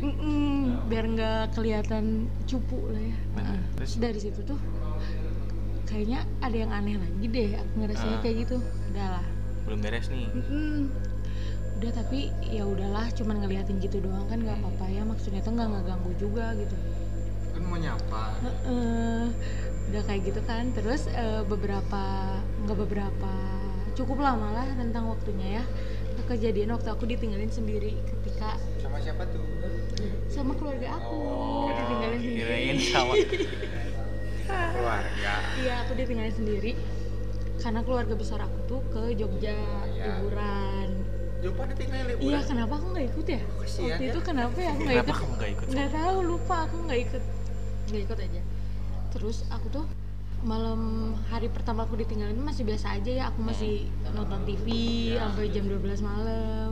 Mm-mm, biar nggak kelihatan cupu lah ya
Bener.
Heeh.
Nah, Terus?
dari situ tuh kayaknya ada yang aneh lagi deh aku ngerasanya
Ah.
kayak gitu udah lah
belum beres nih
Mm-mm. udah tapi ya udahlah cuman ngeliatin gitu doang kan nggak apa-apa ya maksudnya tuh nggak ngeganggu juga gitu
kan mau nyapa
Heeh. udah kayak gitu kan terus eh, beberapa nggak beberapa cukup lama lah tentang waktunya ya kejadian waktu aku ditinggalin sendiri ketika
sama siapa tuh
sama keluarga aku
oh
ditinggalin sendiri Oh,
kirain sama
keluarga
Iya, aku ditinggalin sendiri karena keluarga besar aku tuh ke Jogja
Iya.
liburan.
jumpa di tinggal
Iya,
liburan
kenapa aku nggak ikut ya?
Kasihan
Waktu
ya.
itu kenapa ya aku nggak
kan? kenapa
ikut?
kamu gak ikut
Nggak tahu, lupa aku nggak ikut. Nggak ikut aja. Terus aku tuh malam hari pertama aku ditinggalin masih biasa aja ya aku masih
Hmm.
nonton TV
Ya,
sampai jam 12 malam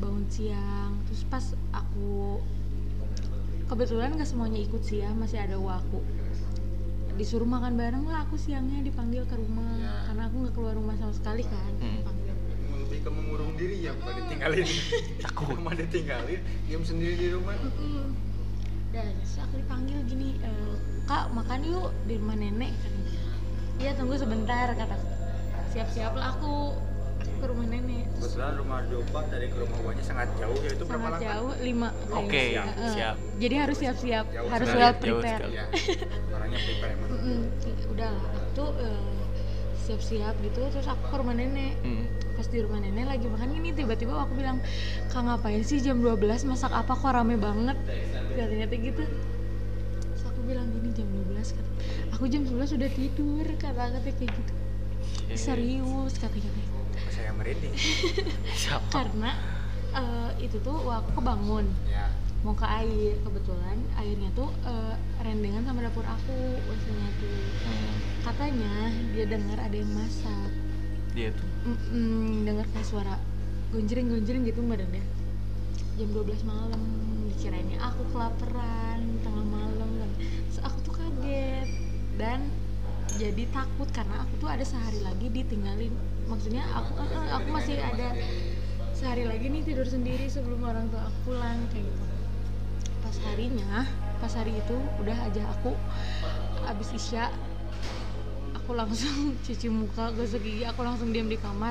bangun siang terus pas aku kebetulan nggak semuanya ikut sih ya masih ada wa aku disuruh makan bareng lah aku siangnya dipanggil ke rumah
Ya.
karena aku nggak keluar rumah sama sekali kan
Hmm.
dipanggil.
lebih ke mengurung diri ya bukan ditinggalin
Takut.
rumah ditinggalin diam sendiri di rumah
Mm-mm. Dan terus aku dipanggil gini, e, kak makan yuk di rumah nenek katanya. Iya tunggu sebentar kata. Siap-siap lah aku, aku ke rumah nenek. Terus
kebetulan rumah domba dari ke rumah guanya sangat jauh ya itu berapa
sangat
langkah
jauh lima.
Oke,
kayaknya.
siap,
Eh,
siap.
Jadi harus siap-siap,
Jauh
harus
sekali,
well
jauh
prepared.
sekali.
ya orangnya prepare emang
Mm-mm. Udah lah, aku tuh e, siap-siap gitu. Terus aku ke rumah nenek.
Hmm.
pas di rumah nenek lagi makan ini tiba-tiba aku bilang kak ngapain sih jam 12 masak apa kok rame banget katanya tuh gitu terus aku bilang gini jam 12 kata aku jam 11 udah tidur kata kata kayak gitu serius katanya
saya merinding
siapa
karena eh, itu tuh wah, aku kebangun
ya
mau ke air kebetulan airnya tuh eh, rendengan sama dapur aku wc-nya tuh
Mm,
katanya dia dengar ada yang masak
dia tuh
Mm-mm, dengar kayak suara gonjreng gonjreng gitu badannya jam 12 malam dikirainnya aku kelaparan tengah malam dan terus aku tuh kaget dan jadi takut karena aku tuh ada sehari lagi ditinggalin maksudnya aku eh, eh, aku masih ada sehari lagi nih tidur sendiri sebelum orang tua aku pulang kayak gitu pas harinya pas hari itu udah aja aku abis isya aku langsung cuci muka gosok gigi aku langsung diam di kamar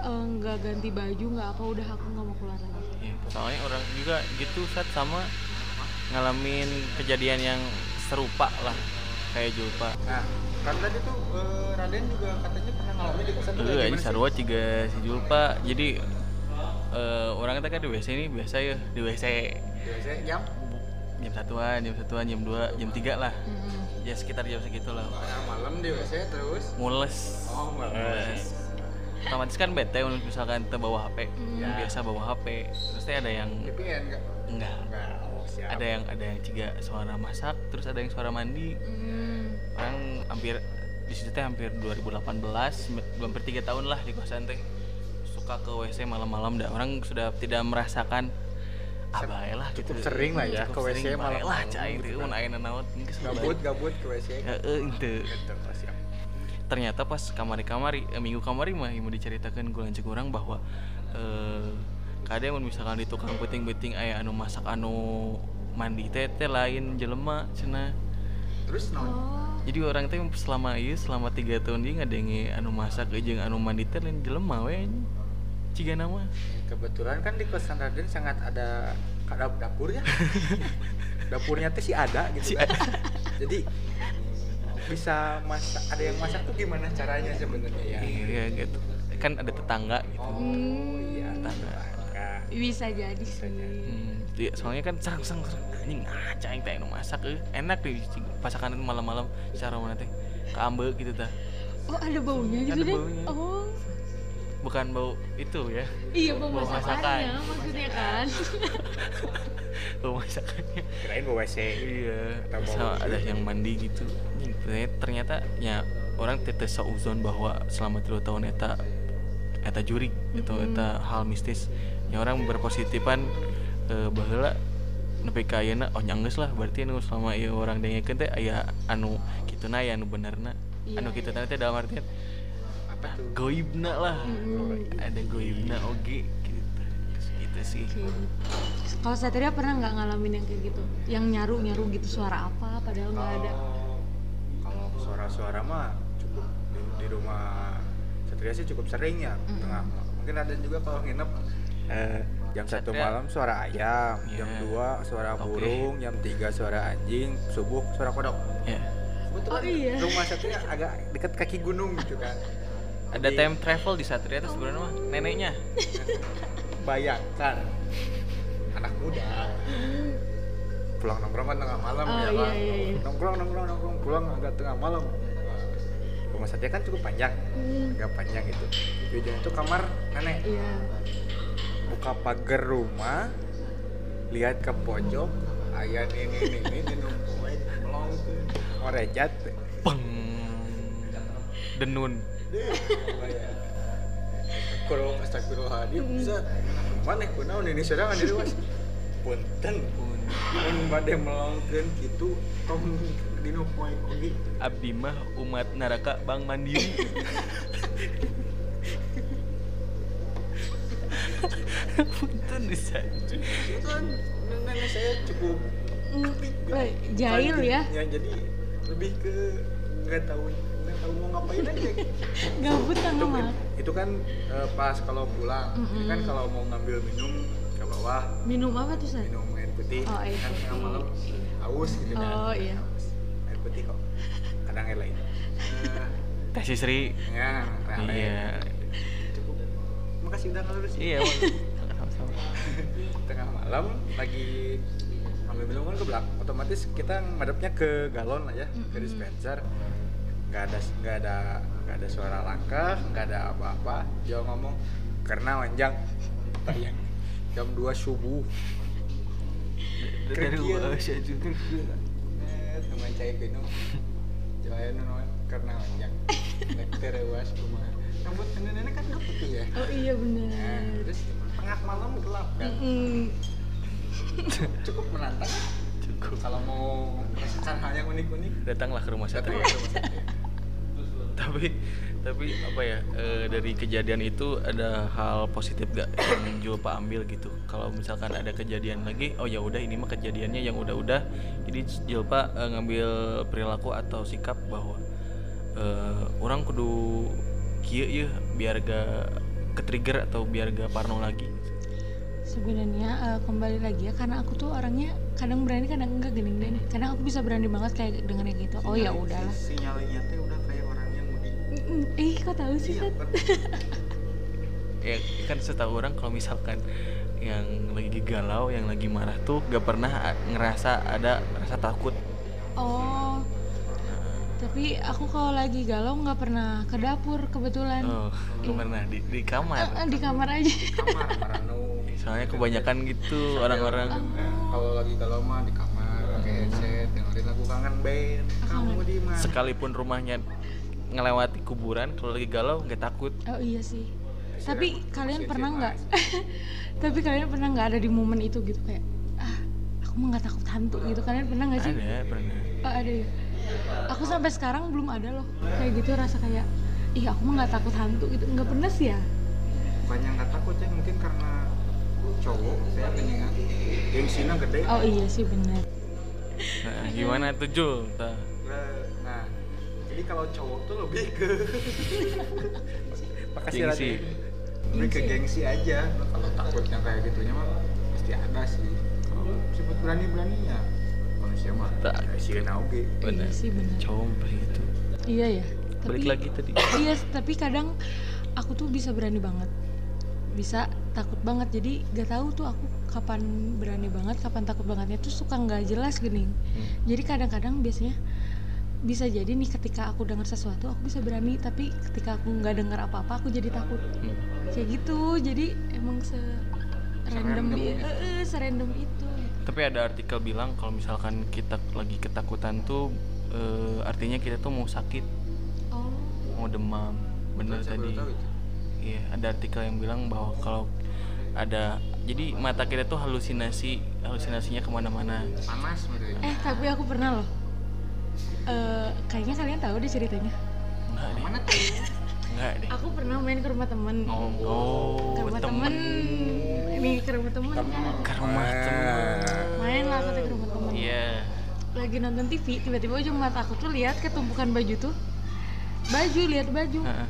Eh, nggak ganti baju nggak apa udah aku nggak mau keluar lagi
ya, soalnya orang juga gitu saat sama ngalamin kejadian yang serupa lah kayak Julpa
nah kan tadi tuh eh, Raden juga katanya pernah ngalamin di kosan tuh
Eh,
kayak
ini
gimana sih?
sarua juga si Julpa. Jadi eh, orang kita kan di WC ini biasa ya di WC
biasanya jam
jam satuan, jam satuan, jam dua, jam tiga lah.
Mm-mm.
Ya sekitar jam segitu lah.
tengah malam di WC terus
Mules.
Oh, mules.
Eh, Otomatis kan bete mun misalkan teu bawa
Iya.
HP.
Hmm.
Yang Biasa bawa HP. Terus teh ada yang
VPN ya enggak
enggak.
enggak oh siap
Ada yang ada yang ciga suara masak, terus ada yang suara mandi.
Mm.
Orang hampir di situ teh hampir 2018, hampir tiga tahun lah di kosan teh suka ke WC malam-malam dan orang sudah tidak merasakan abai lah
Cukup sering lah ya, ke
Cukup
WC
sering, bae
malam-malam
lah cai
gitu
itu
kan.
mun ayeuna naon geus
gabut gabut ke WC
heeh henteu.
terus siap
ternyata pas kamari-kamari eh, minggu kamari mah yang mau diceritakan gue lanjut orang bahwa eh, kadang mun misalkan di tukang puting-puting aya anu masak anu mandi tete lain jelema cenah
terus non
oh
jadi orang teh selama iya selama tiga tahun dia ngadengi anu masak jeung anu mandi teh lain jelema we ciga nama
kebetulan kan di kosan Raden sangat ada kadap dapurnya ya? dapurnya tuh sih ada gitu kan jadi bisa masak ada yang masak tuh gimana caranya sebenarnya ya
iya gitu kan ada tetangga gitu
oh iya
tetangga
Nah,
bisa jadi sih
hmm, iya, soalnya kan serang serang serang anjing ngaca yang teh anu masak eh. enak deh pasakan itu malam-malam secara mana teh keambe gitu tah
oh ada baunya gitu
Ada
deh
baunya.
oh
bukan bau itu ya
iya bau
Bau
masakannya
masakan.
maksudnya kan
bau masakannya
kirain bawa WC
iya
Atau bau
sama
itu.
ada yang mandi gitu Anjing, ternyata, ternyata ya orang tetes sauzon bahwa selama tiga tahun eta eta jurik itu
Mm-mm.
eta hal mistis ya orang berpositifan eh, bahwa nepi ka ayeuna oh nyanggeus lah berarti anu selama ieu orang dengekeun teh aya anu kituna ya anu benerna
Iya,
anu kituna teh dalam artian ah,
apa tuh
goibna lah
Mm-mm.
ada goibna oge gitu gitu sih
Kayak gitu. Kalau Satria pernah nggak ngalamin yang kayak gitu? Yang nyaru-nyaru gitu suara apa padahal nggak ada.
Kalau- kalau suara-suara mah cukup di, di rumah Satria sih cukup sering ya
Mm.
tengah malam. mungkin ada juga kalau nginep eh, jam satu
Satria.
malam suara ayam
Iya.
jam 2 suara
Oke.
burung jam 3 suara anjing subuh suara kodok
ya
kebetulan
Oh, iya.
rumah Satria agak deket kaki gunung gitu kan
ada
Jadi,
time travel di Satria tuh sebenarnya mah neneknya
bayangkan
anak muda
pulang nongkrong kan tengah malam
Oh,
ya
iya,
Bang.
iya, iya.
nongkrong nongkrong nongkrong pulang agak tengah malam rumah Satria kan cukup panjang
Hmm,
agak panjang gitu di ujung itu kamar nenek
Iya.
buka pagar rumah lihat ke pojok ayah ini ini ini
Mulai melong tuh.
orejat
peng denun
Deh, bayar. kurang astagfirullahaladzim bisa
mana kunaon ini sedang di luas punten mun bade melongkeun kitu tong dino poe oge
abdi mah umat neraka bang mandiri punten bisa
Itu kan nenek saya cukup
Hmm, eh, Jahil
rajin.
ya,
jadi lebih ke nggak tahu nggak tahu mau ngapain aja
gabut tengah
itu,
malam.
itu kan eh, pas kalau pulang Ini kan
Mm-mm.
kalau mau ngambil minum ke bawah
Minum apa tuh Sat?
minum air putih
Oh air
kan tengah malam
putih.
haus gitu kan
Oh iya.
air putih kok kadang air lain Eh,
teh si Sri
ya rame.
iya
cukup makasih udah ngelurus
iya Wan. Sama-sama.
tengah malam lagi ambil minum kan ke belakang otomatis kita ngadepnya ke galon aja ke
Mm-mm.
dispenser nggak ada nggak ada nggak ada suara langkah nggak ada apa-apa dia ngomong karena panjang
tayang jam 2 subuh Kerja.
dari gua sih aja
Eh, teman cai geno jalan nol karena panjang lekter was kumaha rambut nenek kan udah putih ya
oh iya
Nah,
bener
terus tengah malam gelap kan
Mm-mm.
cukup menantang
cukup
kalau mau merasakan hal yang unik-unik
datanglah ke rumah
datang
satria
ke rumah satria
tapi tapi apa ya eh, dari kejadian itu ada hal positif gak yang Julpa ambil gitu kalau misalkan ada kejadian lagi oh ya udah ini mah kejadiannya yang udah-udah jadi Julpa eh, ngambil perilaku atau sikap bahwa eh, orang kudu kieu ya biar gak ketrigger atau biar gak parno lagi
sebenarnya eh, kembali lagi ya karena aku tuh orangnya kadang berani kadang enggak gening deh kadang aku bisa berani banget kayak dengan yang gitu oh ya
Sinyal-
udahlah
sinyalnya teh udah kayak orang yang mudik
Mm-mm. ih kok tahu sih Sat?
kan.
ya kan setahu orang kalau misalkan yang lagi galau yang lagi marah tuh gak pernah a- ngerasa ada rasa takut
oh tapi aku kalau lagi galau nggak pernah ke dapur kebetulan
oh gak pernah di, di kamar
Eh, eh, di kamar aja
kamar meranu
soalnya kebanyakan gitu orang-orang
Nah, kalau lagi galau mah di kamar pakai headset dengerin lagu kangen band kamu di mana
sekalipun rumahnya ngelewati kuburan kalau lagi galau nggak takut
oh iya sih
Headset
tapi
yang
kalian
masih
pernah
headset
nggak tapi kalian pernah nggak ada di momen itu gitu kayak ah aku mah nggak takut hantu gitu kalian pernah nggak sih
ada pernah
Oh, ada ya. Aku sampai sekarang belum ada loh kayak gitu rasa kayak ih aku mah nggak takut hantu gitu nggak pernah sih ya
mah. bukannya nggak takut ya mungkin karena cowok saya mendingan gengsinya gede
oh iya sih benar
Nah,
Iya.
gimana tuh Jul Tah.
Nah, nah jadi kalau cowok tuh lebih ke makasih
Gengsi.
Raden lebih ke gengsi aja kalau takutnya kayak gitunya mah pasti ada sih kalau sebut berani beraninya manusia mah
Tak.
sih oke
iya
Bener.
sih benar
cowok pasti gitu
iya ya tapi
balik lagi tadi
iya tapi kadang aku tuh bisa berani banget bisa takut banget jadi nggak tahu tuh aku kapan berani banget kapan takut bangetnya tuh suka nggak jelas gini
Hmm.
jadi kadang-kadang biasanya bisa jadi nih ketika aku dengar sesuatu aku bisa berani tapi ketika aku nggak dengar apa-apa aku jadi takut
Hmm.
kayak gitu jadi emang se random
Serandom
i-
gitu.
eh, eh, serandom itu
tapi ada artikel bilang kalau misalkan kita lagi ketakutan tuh eh, artinya kita tuh mau sakit
oh
mau demam bener
Saya baru
tadi
tahu itu.
Iya, ada artikel yang bilang bahwa kalau ada jadi mata kita tuh halusinasi halusinasinya kemana-mana
panas gitu ya. menurut
eh tapi aku pernah loh Eh, kayaknya kalian tahu deh ceritanya
enggak deh
mana tuh
enggak deh
aku pernah main ke rumah temen
oh, oh,
ke rumah temen
temen
ini ke rumah temen kan
ke rumah temen
main lah aku tuh ke rumah temen
iya
lagi nonton TV tiba-tiba ujung mata aku tuh lihat ketumpukan baju tuh baju lihat baju
Heeh.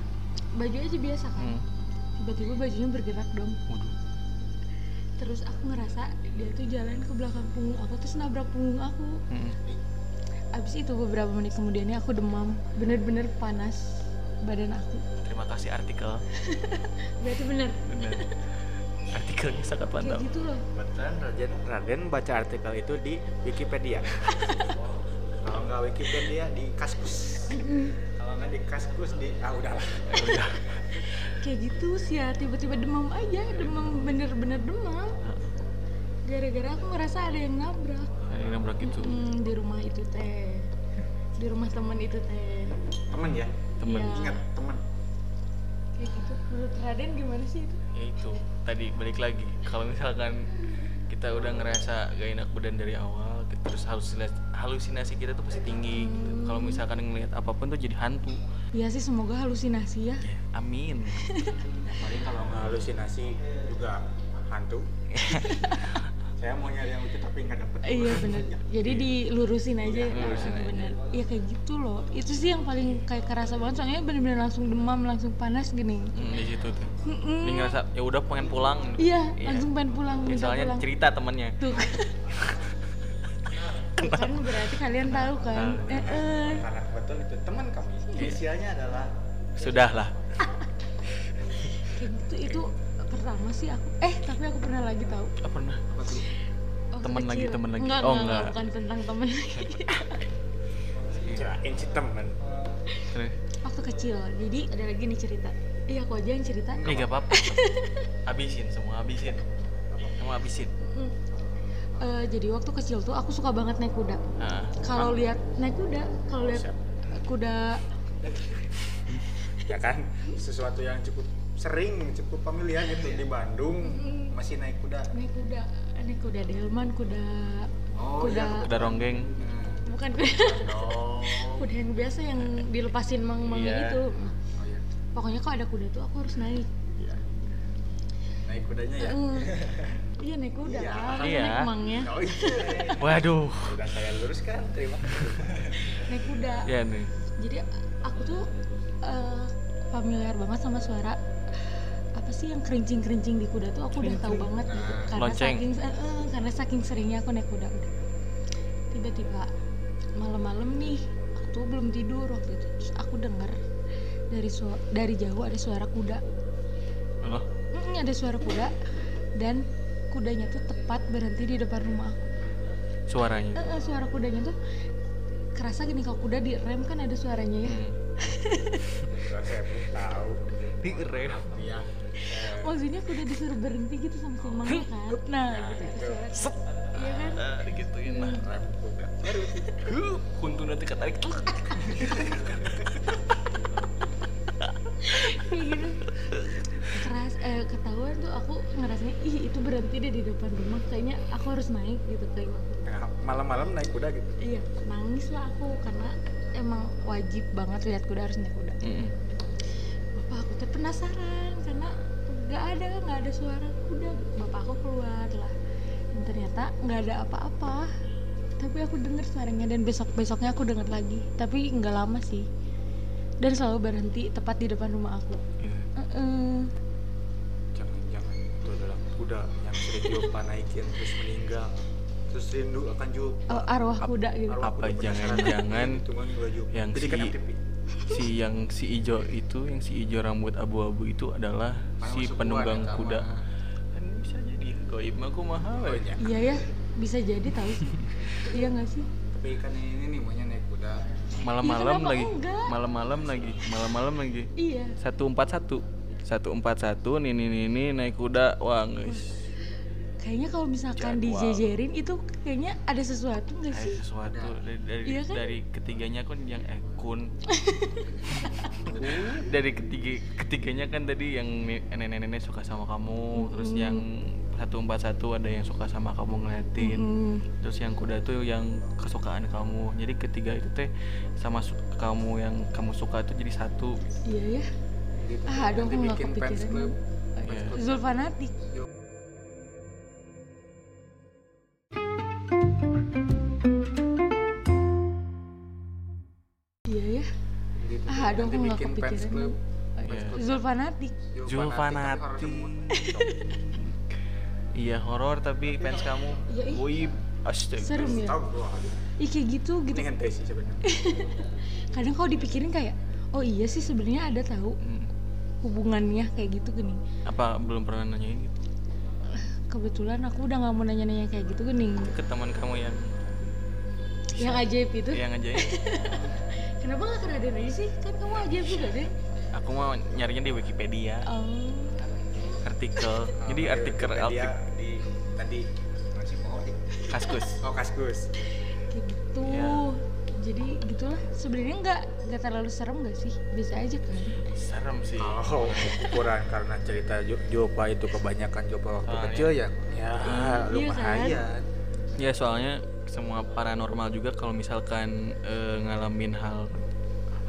baju aja biasa kan
Hmm.
tiba-tiba bajunya bergerak dong
Waduh.
terus aku ngerasa dia tuh jalan ke belakang punggung aku terus nabrak punggung aku
Hmm.
abis itu beberapa menit kemudiannya aku demam bener-bener panas badan aku
terima kasih artikel
berarti bener
benar artikelnya sangat
kayak
mantap
gitu loh
Kebetulan Raden, Raden baca artikel itu di Wikipedia. Kalau nggak Wikipedia di Kaskus. Kalau nggak di Kaskus di ah udahlah.
Ya
kayak gitu sih ya tiba-tiba demam aja demam bener-bener demam gara-gara aku ngerasa ada yang nabrak
Ada yang nabrak itu
Mm, di rumah itu teh di rumah temen itu teh
Temen ya,
temen
Iya.
ingat temen.
kayak gitu menurut Raden gimana sih itu
ya itu tadi balik lagi kalau misalkan kita udah ngerasa gak enak badan dari awal terus halusinasi, halusinasi kita tuh pasti tinggi gitu. kalau misalkan ngelihat apapun tuh jadi hantu
ya sih semoga halusinasi ya
amin
Paling kalau nggak halusinasi juga hantu. Saya mau nyari yang lucu tapi nggak dapet.
Iya benar. Jadi dilurusin aja.
Dilurusin aja.
Bener. Iya kayak gitu loh. Itu sih yang paling kayak kerasa banget soalnya bener-bener langsung demam, langsung panas gini.
Hmm, di situ tuh
Mm-mm.
ini ngerasa ya udah pengen pulang
Iya,
Iya.
langsung pengen pulang,
Ya,
minta
soalnya
pulang.
cerita temennya
Tuh. Tuh kan berarti kalian tahu kan.
Nah.
Eh, eh.
Karena kebetulan itu teman kami. Inisialnya adalah
sudahlah
Kayak gitu itu pertama sih aku. Eh, tapi aku pernah lagi tahu.
apa pernah
apa tuh?
Iya.
Waktu
Teman lagi,
kecil.
teman lagi.
Enggak,
Oh,
enggak, enggak,
enggak.
bukan tentang teman lagi.
Kirain si temen.
Iya.
Terus,
Waktu kecil. Jadi ada lagi nih cerita. iya aku aja yang cerita
Eh gak apa-apa. Habisin semua, habisin. Kamu habisin.
Mm. Eh, jadi waktu kecil tuh aku suka banget naik kuda
Nah,
kalau lihat naik kuda kalau lihat
Siap.
kuda
ya kan sesuatu yang cukup sering cukup familiar gitu di Bandung
Mm-mm.
masih naik kuda
naik kuda eh, naik kuda delman kuda
oh
Kuda.
iya
udah ronggeng.
Hmm,
bukan kuda,
oh
kuda yang biasa yang dilepasin mang mang
Iya.
itu
oh iya
pokoknya kalau ada kuda tuh aku harus naik
Iya. naik kudanya ya
Mm. iya naik kuda
Iya.
lah kan
Iya.
naik mangnya
oh iya
Waduh.
udah saya luruskan kan? terima kasih
naik kuda
Ya nih.
jadi aku tuh eh, familiar banget sama suara apa sih yang kerincing kerincing di kuda tuh aku udah tahu banget gitu
Nah,
karena
lonceng.
saking eh, eh, karena saking seringnya aku naik kuda udah tiba-tiba malam-malam nih aku tuh belum tidur waktu itu terus aku dengar dari su- dari jauh ada suara kuda
Loh,
Mm, ada suara kuda dan kudanya tuh tepat berhenti di depan rumah aku
suaranya.
Eh, eh, suara kudanya tuh kerasa gini kalau kuda direm kan ada suaranya ya
Hmm.
Terus saya pun tahu
Ini keren.
ya eh,
maksudnya aku udah disuruh berhenti gitu sama si mangnya kan nah gitu itu suara
Set.
iya kan
Ah, Digituin lah.
rem kuda
Huh, Kuntu nanti ketarik. Tlek.
kayak gitu keras eh, ketahuan tuh aku ngerasanya ih itu berhenti deh di depan rumah kayaknya aku harus naik gitu kayak
Nah, malam-malam naik kuda gitu
iya nangis lah aku karena emang wajib banget lihat kuda harus naik kuda
Mm-mm.
bapak aku tuh penasaran karena nggak ada nggak ada suara kuda bapak aku keluar lah dan ternyata nggak ada apa-apa tapi aku dengar suaranya dan besok besoknya aku dengar lagi tapi nggak lama sih dan selalu berhenti tepat di depan rumah aku
Iya.
Eh-eh.
jangan-jangan itu adalah kuda yang sering Julpa naikin terus meninggal terus rindu akan Julpa
Oh, arwah kuda gitu
Arwah
Apa
kuda penasaran.
jangan-jangan
itu kan kuda Julpa
yang
Jadi kan
si-
aktif.
Si yang si ijo itu, yang si ijo rambut abu-abu itu adalah
Mana
si
masuk
penunggang
keluar,
kuda.
kamar.
Kan bisa jadi goib mah mahal.
Oh, iya.
iya ya bisa jadi tahu sih iya nggak sih
tapi kan ini nih maunya naik kuda
Iya,
Malam-malam
kenapa
lagi.
enggak?
Malam-malam lagi. Malam-malam lagi.
iya
141. 141 nini nini naik kuda. Wah,
iya
guys.
kayaknya kalau misalkan
Jadwal.
dijejerin itu kayaknya ada sesuatu nggak
Eh,
sih
sesuatu dari dari,
Iya kan?
dari ketiganya kan yang eh, kun. dari ketiga ketiganya kan tadi yang ni- nenek-nenek suka sama kamu, terus yang 141 ada yang suka sama kamu ngeliatin.
Mm-mm.
Terus yang kuda tuh yang kesukaan kamu. Jadi ketiga itu teh sama su- kamu yang kamu suka tuh jadi satu.
iya ya
Gitu.
Ah, aduh,
nanti
aku nggak
bikin fans
kepikiran.
club
Iya.
Zulfanatik Iya ya.
gitu.
Ah, aduh,
nanti
aku nggak
bikin fans
kepikiran.
club
Iya.
Zulfanatik.
tapi horor
Julfanati.
semua.
Iya horor tapi fans kamu
Iya, ih.
goib. Astaga.
Serem ya.
Tahu gua, aduh.
Ih kayak gitu gitu.
ini kan tesi sebenarnya
Kadang kalau dipikirin kayak oh iya sih sebenarnya ada tahu
Hmm.
hubungannya kayak gitu gini.
Apa belum pernah nanyain gitu
Kebetulan aku udah nggak mau nanya-nanya kayak gitu gini.
ke teman kamu yang
Yang ajaib itu.
yang ajaib?
Kenapa nggak ke Raden aja sih? Kan kamu ajaib juga deh.
Aku mau nyarinya di Wikipedia,
Oh.
artikel. Jadi
Oke,
artikel
Wikipedia
artikel
di tadi
masih mau dik.
kaskus.
oh kaskus
kayak gitu
Ya.
jadi gitulah sebenarnya nggak nggak terlalu serem nggak sih biasa aja kan
Serem sih.
Oh, ukuran karena cerita Jo- Jopa itu kebanyakan Jopa waktu
Soalnya-
kecil ya. Ya,
Iya,
lumayan.
Ya soalnya semua paranormal juga kalau misalkan eh, ngalamin hal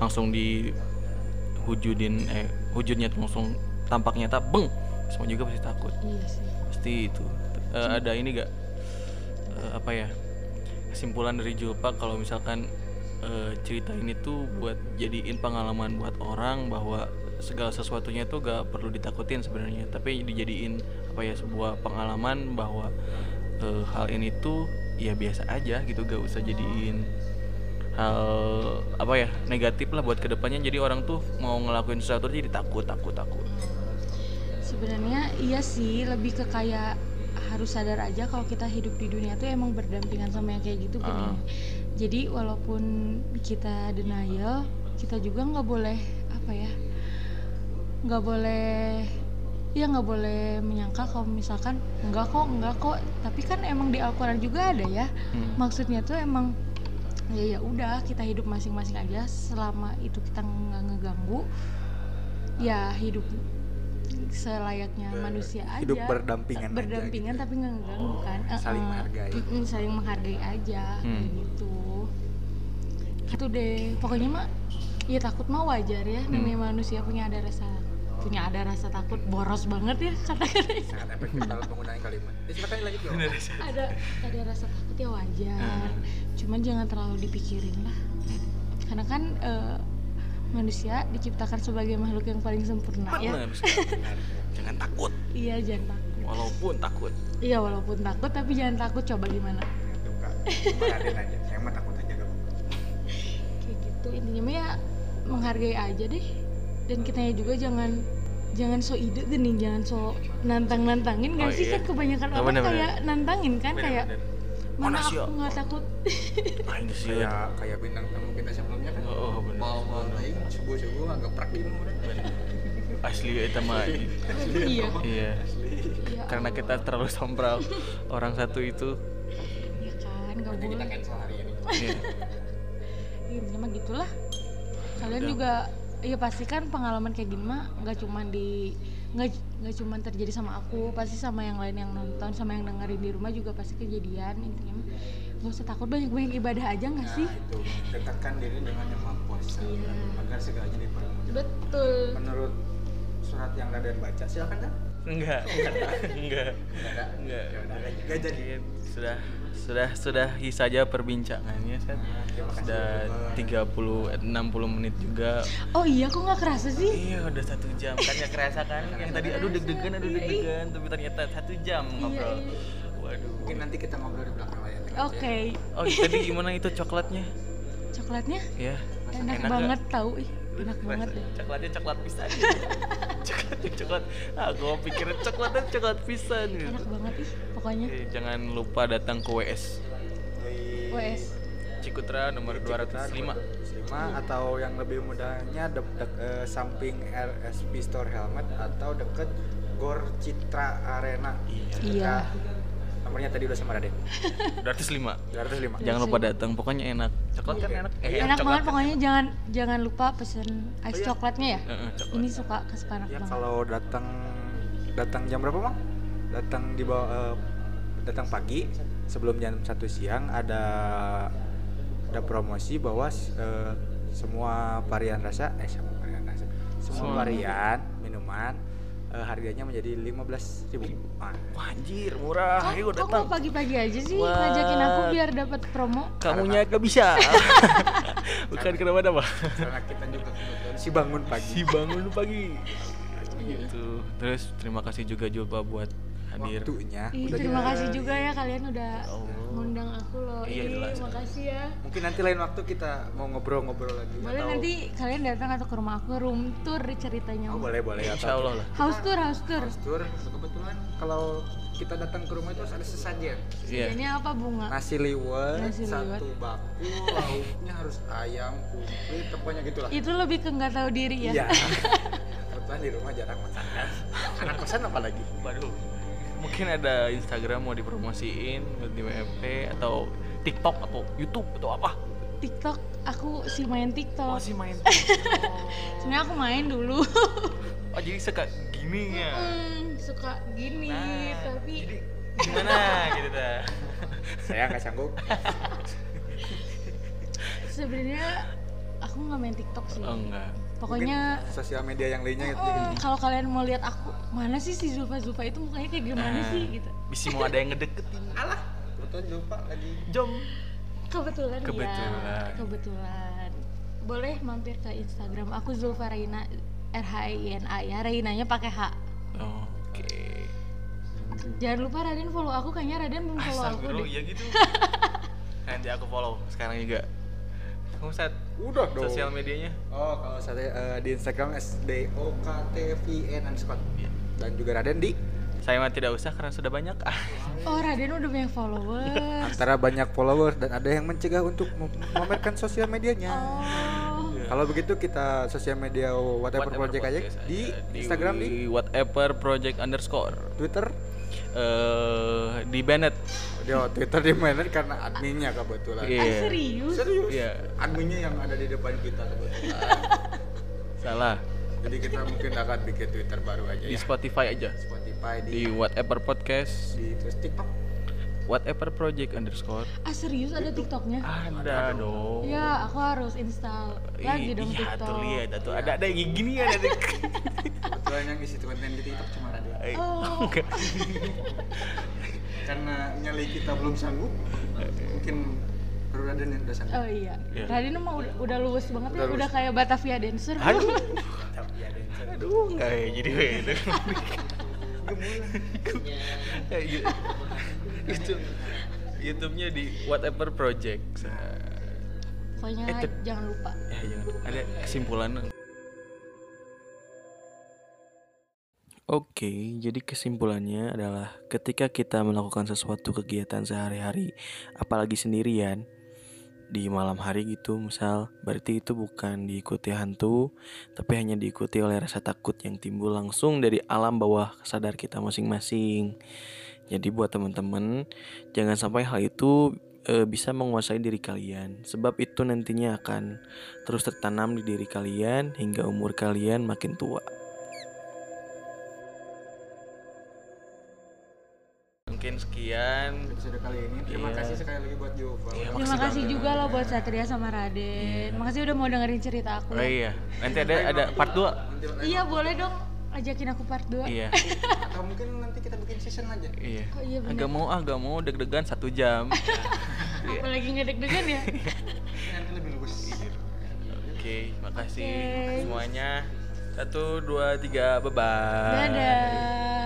langsung di hujudin eh hujudnya tuh langsung tampaknya tak beng semua juga pasti takut
iya sih
pasti itu Eh, ada ini gak eh, apa ya kesimpulan dari Julpa kalau misalkan eh, cerita ini tuh buat jadiin pengalaman buat orang bahwa segala sesuatunya tuh gak perlu ditakutin sebenarnya tapi dijadiin apa ya sebuah pengalaman bahwa eh, hal ini tuh ya biasa aja gitu gak usah jadiin hal apa ya negatif lah buat kedepannya jadi orang tuh mau ngelakuin sesuatu jadi takut takut takut
sebenarnya iya sih lebih ke kayak harus sadar aja kalau kita hidup di dunia tuh emang berdampingan sama yang kayak gitu kan ya.
Ah.
jadi walaupun kita denial kita juga nggak boleh apa ya nggak boleh ya nggak boleh menyangka kalau misalkan enggak kok enggak kok tapi kan emang di Al-Quran juga ada ya
Hmm.
maksudnya tuh emang ya ya udah kita hidup masing-masing aja selama itu kita nggak ngeganggu ya hidup selayaknya manusia aja
hidup berdampingan aja
berdampingan
gitu.
tapi nggak ngeganggu kan
Saling
Eh, eh.
menghargai.
Mm-mm, saling menghargai aja kayak
Hmm.
gitu gitu deh pokoknya mah ya takut mah wajar ya
Hmm.
namanya manusia punya ada rasa punya ada rasa takut boros banget ya kata-kata
sangat efektif dalam penggunaan kalimat jadi silakan lanjut yuk
ada ada rasa takut ya wajar
Hmm.
cuman jangan terlalu dipikirin lah karena kan eh, manusia diciptakan sebagai makhluk yang paling sempurna ya
Benar sekali. Jangan takut,
iya jangan takut
walaupun takut.
iya walaupun takut tapi jangan takut coba gimana
Tuh, Kak. Cuma Raden aja saya mah takut aja gak
Kan
apa-apa
kayak gitu intinya mah ya menghargai aja deh dan kitanya juga jangan jangan so ide gini jangan so nantang nantangin
Oh,
nggak sih
iya.
kan kebanyakan
Oh,
orang
bener-bener.
kayak nantangin kan kayak mana
Mana
aku
sih, ya?"
nggak takut
Aing sih. ya.
kayak kayak bintang tamu kita sebelumnya kan
Oh, Iya. benar.
mau mau naik subuh subuh agak praktik
Asli eta mah.
iya
Iya.
Ya
Karena
Allah.
kita terlalu sombral orang satu itu.
ya kan nggak
nanti kita
boleh
cancel hari ini
Iya.
intinya Iya, mah gitulah kalian
Udah.
juga ya pasti kan pengalaman kayak gini mah nggak cuman di nggak nggak cuman terjadi sama aku pasti sama yang lain yang nonton sama yang dengerin di rumah juga pasti kejadian intinya mah nggak usah takut banyak banyak ibadah aja nggak
nah
sih
itu dekatkan diri dengan yang maha kuasa
Iya.
agar segalanya dipermudah
betul
menurut surat yang Raden baca silakan kan
Enggak. Enggak.
ada
Enggak.
ya udah gak jadi
Mungkin sudah sudah sudahi saja perbincangannya kan.
Nah, terima kasih
Sudah 30 eh, 60 menit juga.
oh iya kok nggak kerasa sih
Iya udah satu jam kan nggak kerasa kan yang tadi aduh deg-degan aduh deg-degan tapi ternyata satu jam ngobrol.
iya.
Waduh.
mungkin nanti kita ngobrol di belakang layar tengah
oke
aja ya.
Oh tadi gimana itu coklatnya?
coklatnya
Ya.
enak,
Enak
banget tahu ih enak banget ya. deh
Coklatnya coklat pisan. coklatnya coklat. Ah gua pikir coklatnya coklat pisan gitu.
enak banget ih pokoknya
Eh, Jangan lupa datang ke WS
Di-
WS
Cikutra nomor 205.
205 atau yang lebih mudahnya de- de- eh, samping RSP Store Helmet atau deket Gor Citra Arena.
Iya.
Dekat- Nomornya tadi udah sama Raden. 205.
205. Jangan lupa datang, pokoknya enak. Coklat kan enak. Eh,
enak
coklat
banget pokoknya jangan jangan lupa pesen ice coklatnya ya
Eh, eh, coklat.
ini suka kesepanak
Ya
banget
kalau datang datang jam berapa, Bang? Datang di bawah eh, datang pagi sebelum jam 1 siang ada ada promosi bahwa eh, semua varian rasa eh semua varian rasa semua
Semua.
varian minuman eh, harganya menjadi 15.000. Ah.
Wah, anjir, murah.
Kok-
Ah, Ayo
kok nggak
datang.
pagi-pagi aja sih
Wah.
ngajakin aku biar dapat promo
Kamunya gak bisa. Bukan kenapa-napa.
karena kita juga kebetulan si bangun pagi
Si bangun pagi. Gitu. Terus terima kasih juga Julpa buat hadir.
waktunya
Iya,
Ih,
udah
terima
jadi.
kasih juga ya kalian udah
Ya Allah.
ngundang aku loh
Iya,
Ih,
jelas.
makasih ya
mungkin nanti lain waktu kita mau ngobrol-ngobrol lagi
boleh
atau-
nanti kalian datang atau ke rumah aku room tour deh ceritanya
oh boleh boleh atau
Insya Allah lah.
house tour house tour
Mas Tur, kebetulan kalau kita datang ke rumah itu harus ada sesajen
Iya.
Ini apa bunga
nasi liwet
Nasi liwet.
satu baku lauknya harus ayam kumplit pokoknya gitulah
itu lebih ke nggak tahu diri ya
iya kebetulan di rumah jarang makan kan anak kosan apa lagi
Waduh. Mungkin ada Instagram mau dipromosiin buat di WFP atau TikTok atau YouTube atau apa?
TikTok aku sih main
Oh,
TikTok
sih main.
sebenarnya aku main dulu
Oh, jadi suka gini ya.
Hmm, suka gini
Nah,
tapi
jadi gimana gitu dah.
saya nggak sanggup
sebenarnya aku nggak main TikTok sih
Oh, enggak.
pokoknya
Mungkin sosial media yang lainnya gitu
Iya.
mm, kalau kalian mau lihat aku mana sih si Zulfa Zulfa itu mukanya kayak gimana
Ah.
sih gitu
Bisa mau ada yang ngedeketin.
Oh.
alah kebetulan lupa lagi
Jom.
kebetulan ya.
Kebetulan.
kebetulan boleh mampir ke Instagram aku Zulfa Reina R H I N A ya Reinanya pakai H
Oke.
jangan lupa Raden follow aku kayaknya Raden belum follow aku
Astagfirullah,
deh
ya gitu. Nanti aku follow sekarang juga. Kamu set
udah dong
sosial medianya?
oh kalau saya eh, di Instagram SDOKTVN E underscore dan juga Raden di
Saya mah tidak usah karena sudah banyak. Ah,
oh Raden udah banyak follower
antara banyak follower dan ada yang mencegah untuk mem- memamerkan sosial medianya
oh
ya
Kalau begitu kita sosial media whatever, project aja
podcast
di Instagram di
whatever project underscore
Twitter.
eh di Bennett
Di oh, Twitter di mana karena adminnya kebetulan. Eh,
Iya.
Ah, serius?
Serius.
Iya.
Adminnya yang ada di depan kita kebetulan.
salah
Jadi kita mungkin akan bikin Twitter baru aja
di
ya.
Spotify aja
Spotify di
di whatever podcast
di terus TikTok.
whatever project underscore
Ah serius ada TikToknya?
ada dong
Ya, aku harus install lagi
Ih,
dong
iya tuh lihat
TikTok.
tuh ada ada yang gini ya, ada ada
Kebetulan yang isi konten di TikTok cuma ada.
Eh,
Oh.
enggak.
Karena nyali kita belum sanggup.
mungkin Ruraden yang udah sanggup
Oh iya.
Iya.
Radin mah udah, udah luwes banget ya,
Udah
udah kayak Batavia dancer.
aduh aduh enggak ya jadi beda Eh, gitu. YouTube YouTube-nya di whatever project
Pokoknya
Eh, tep-
jangan lupa.
ya jangan ada kesimpulan Oke, jadi kesimpulannya adalah ketika kita melakukan sesuatu kegiatan sehari-hari, apalagi sendirian di malam hari gitu, misal berarti itu bukan diikuti hantu, tapi hanya diikuti oleh rasa takut yang timbul langsung dari alam bawah sadar kita masing-masing. Jadi buat teman-teman, jangan sampai hal itu eh, bisa menguasai diri kalian, sebab itu nantinya akan terus tertanam di diri kalian hingga umur kalian makin tua. Mungkin sekian.
episode kali ini terima
Iya.
kasih sekali lagi buat Jova
Iya,
Udah
Terima
Makasih
kasih
banget. Iya.
juga loh buat Satria sama Raden. Makasih udah mau dengerin cerita aku.
Oh iya, nanti ada ada part 2.
nanti lain
Iya, boleh dong ajakin aku part 2.
Iya.
atau mungkin nanti kita bikin season aja
Iya.
Oh iya benar.
Agak mau ah, agak mau deg-degan satu jam. Iya.
Aku lagi ngedeg-degan ya.
nanti lebih luwes
Oke, makasih
Oke.
semuanya. Satu, dua, tiga, bye bye.
Dadah.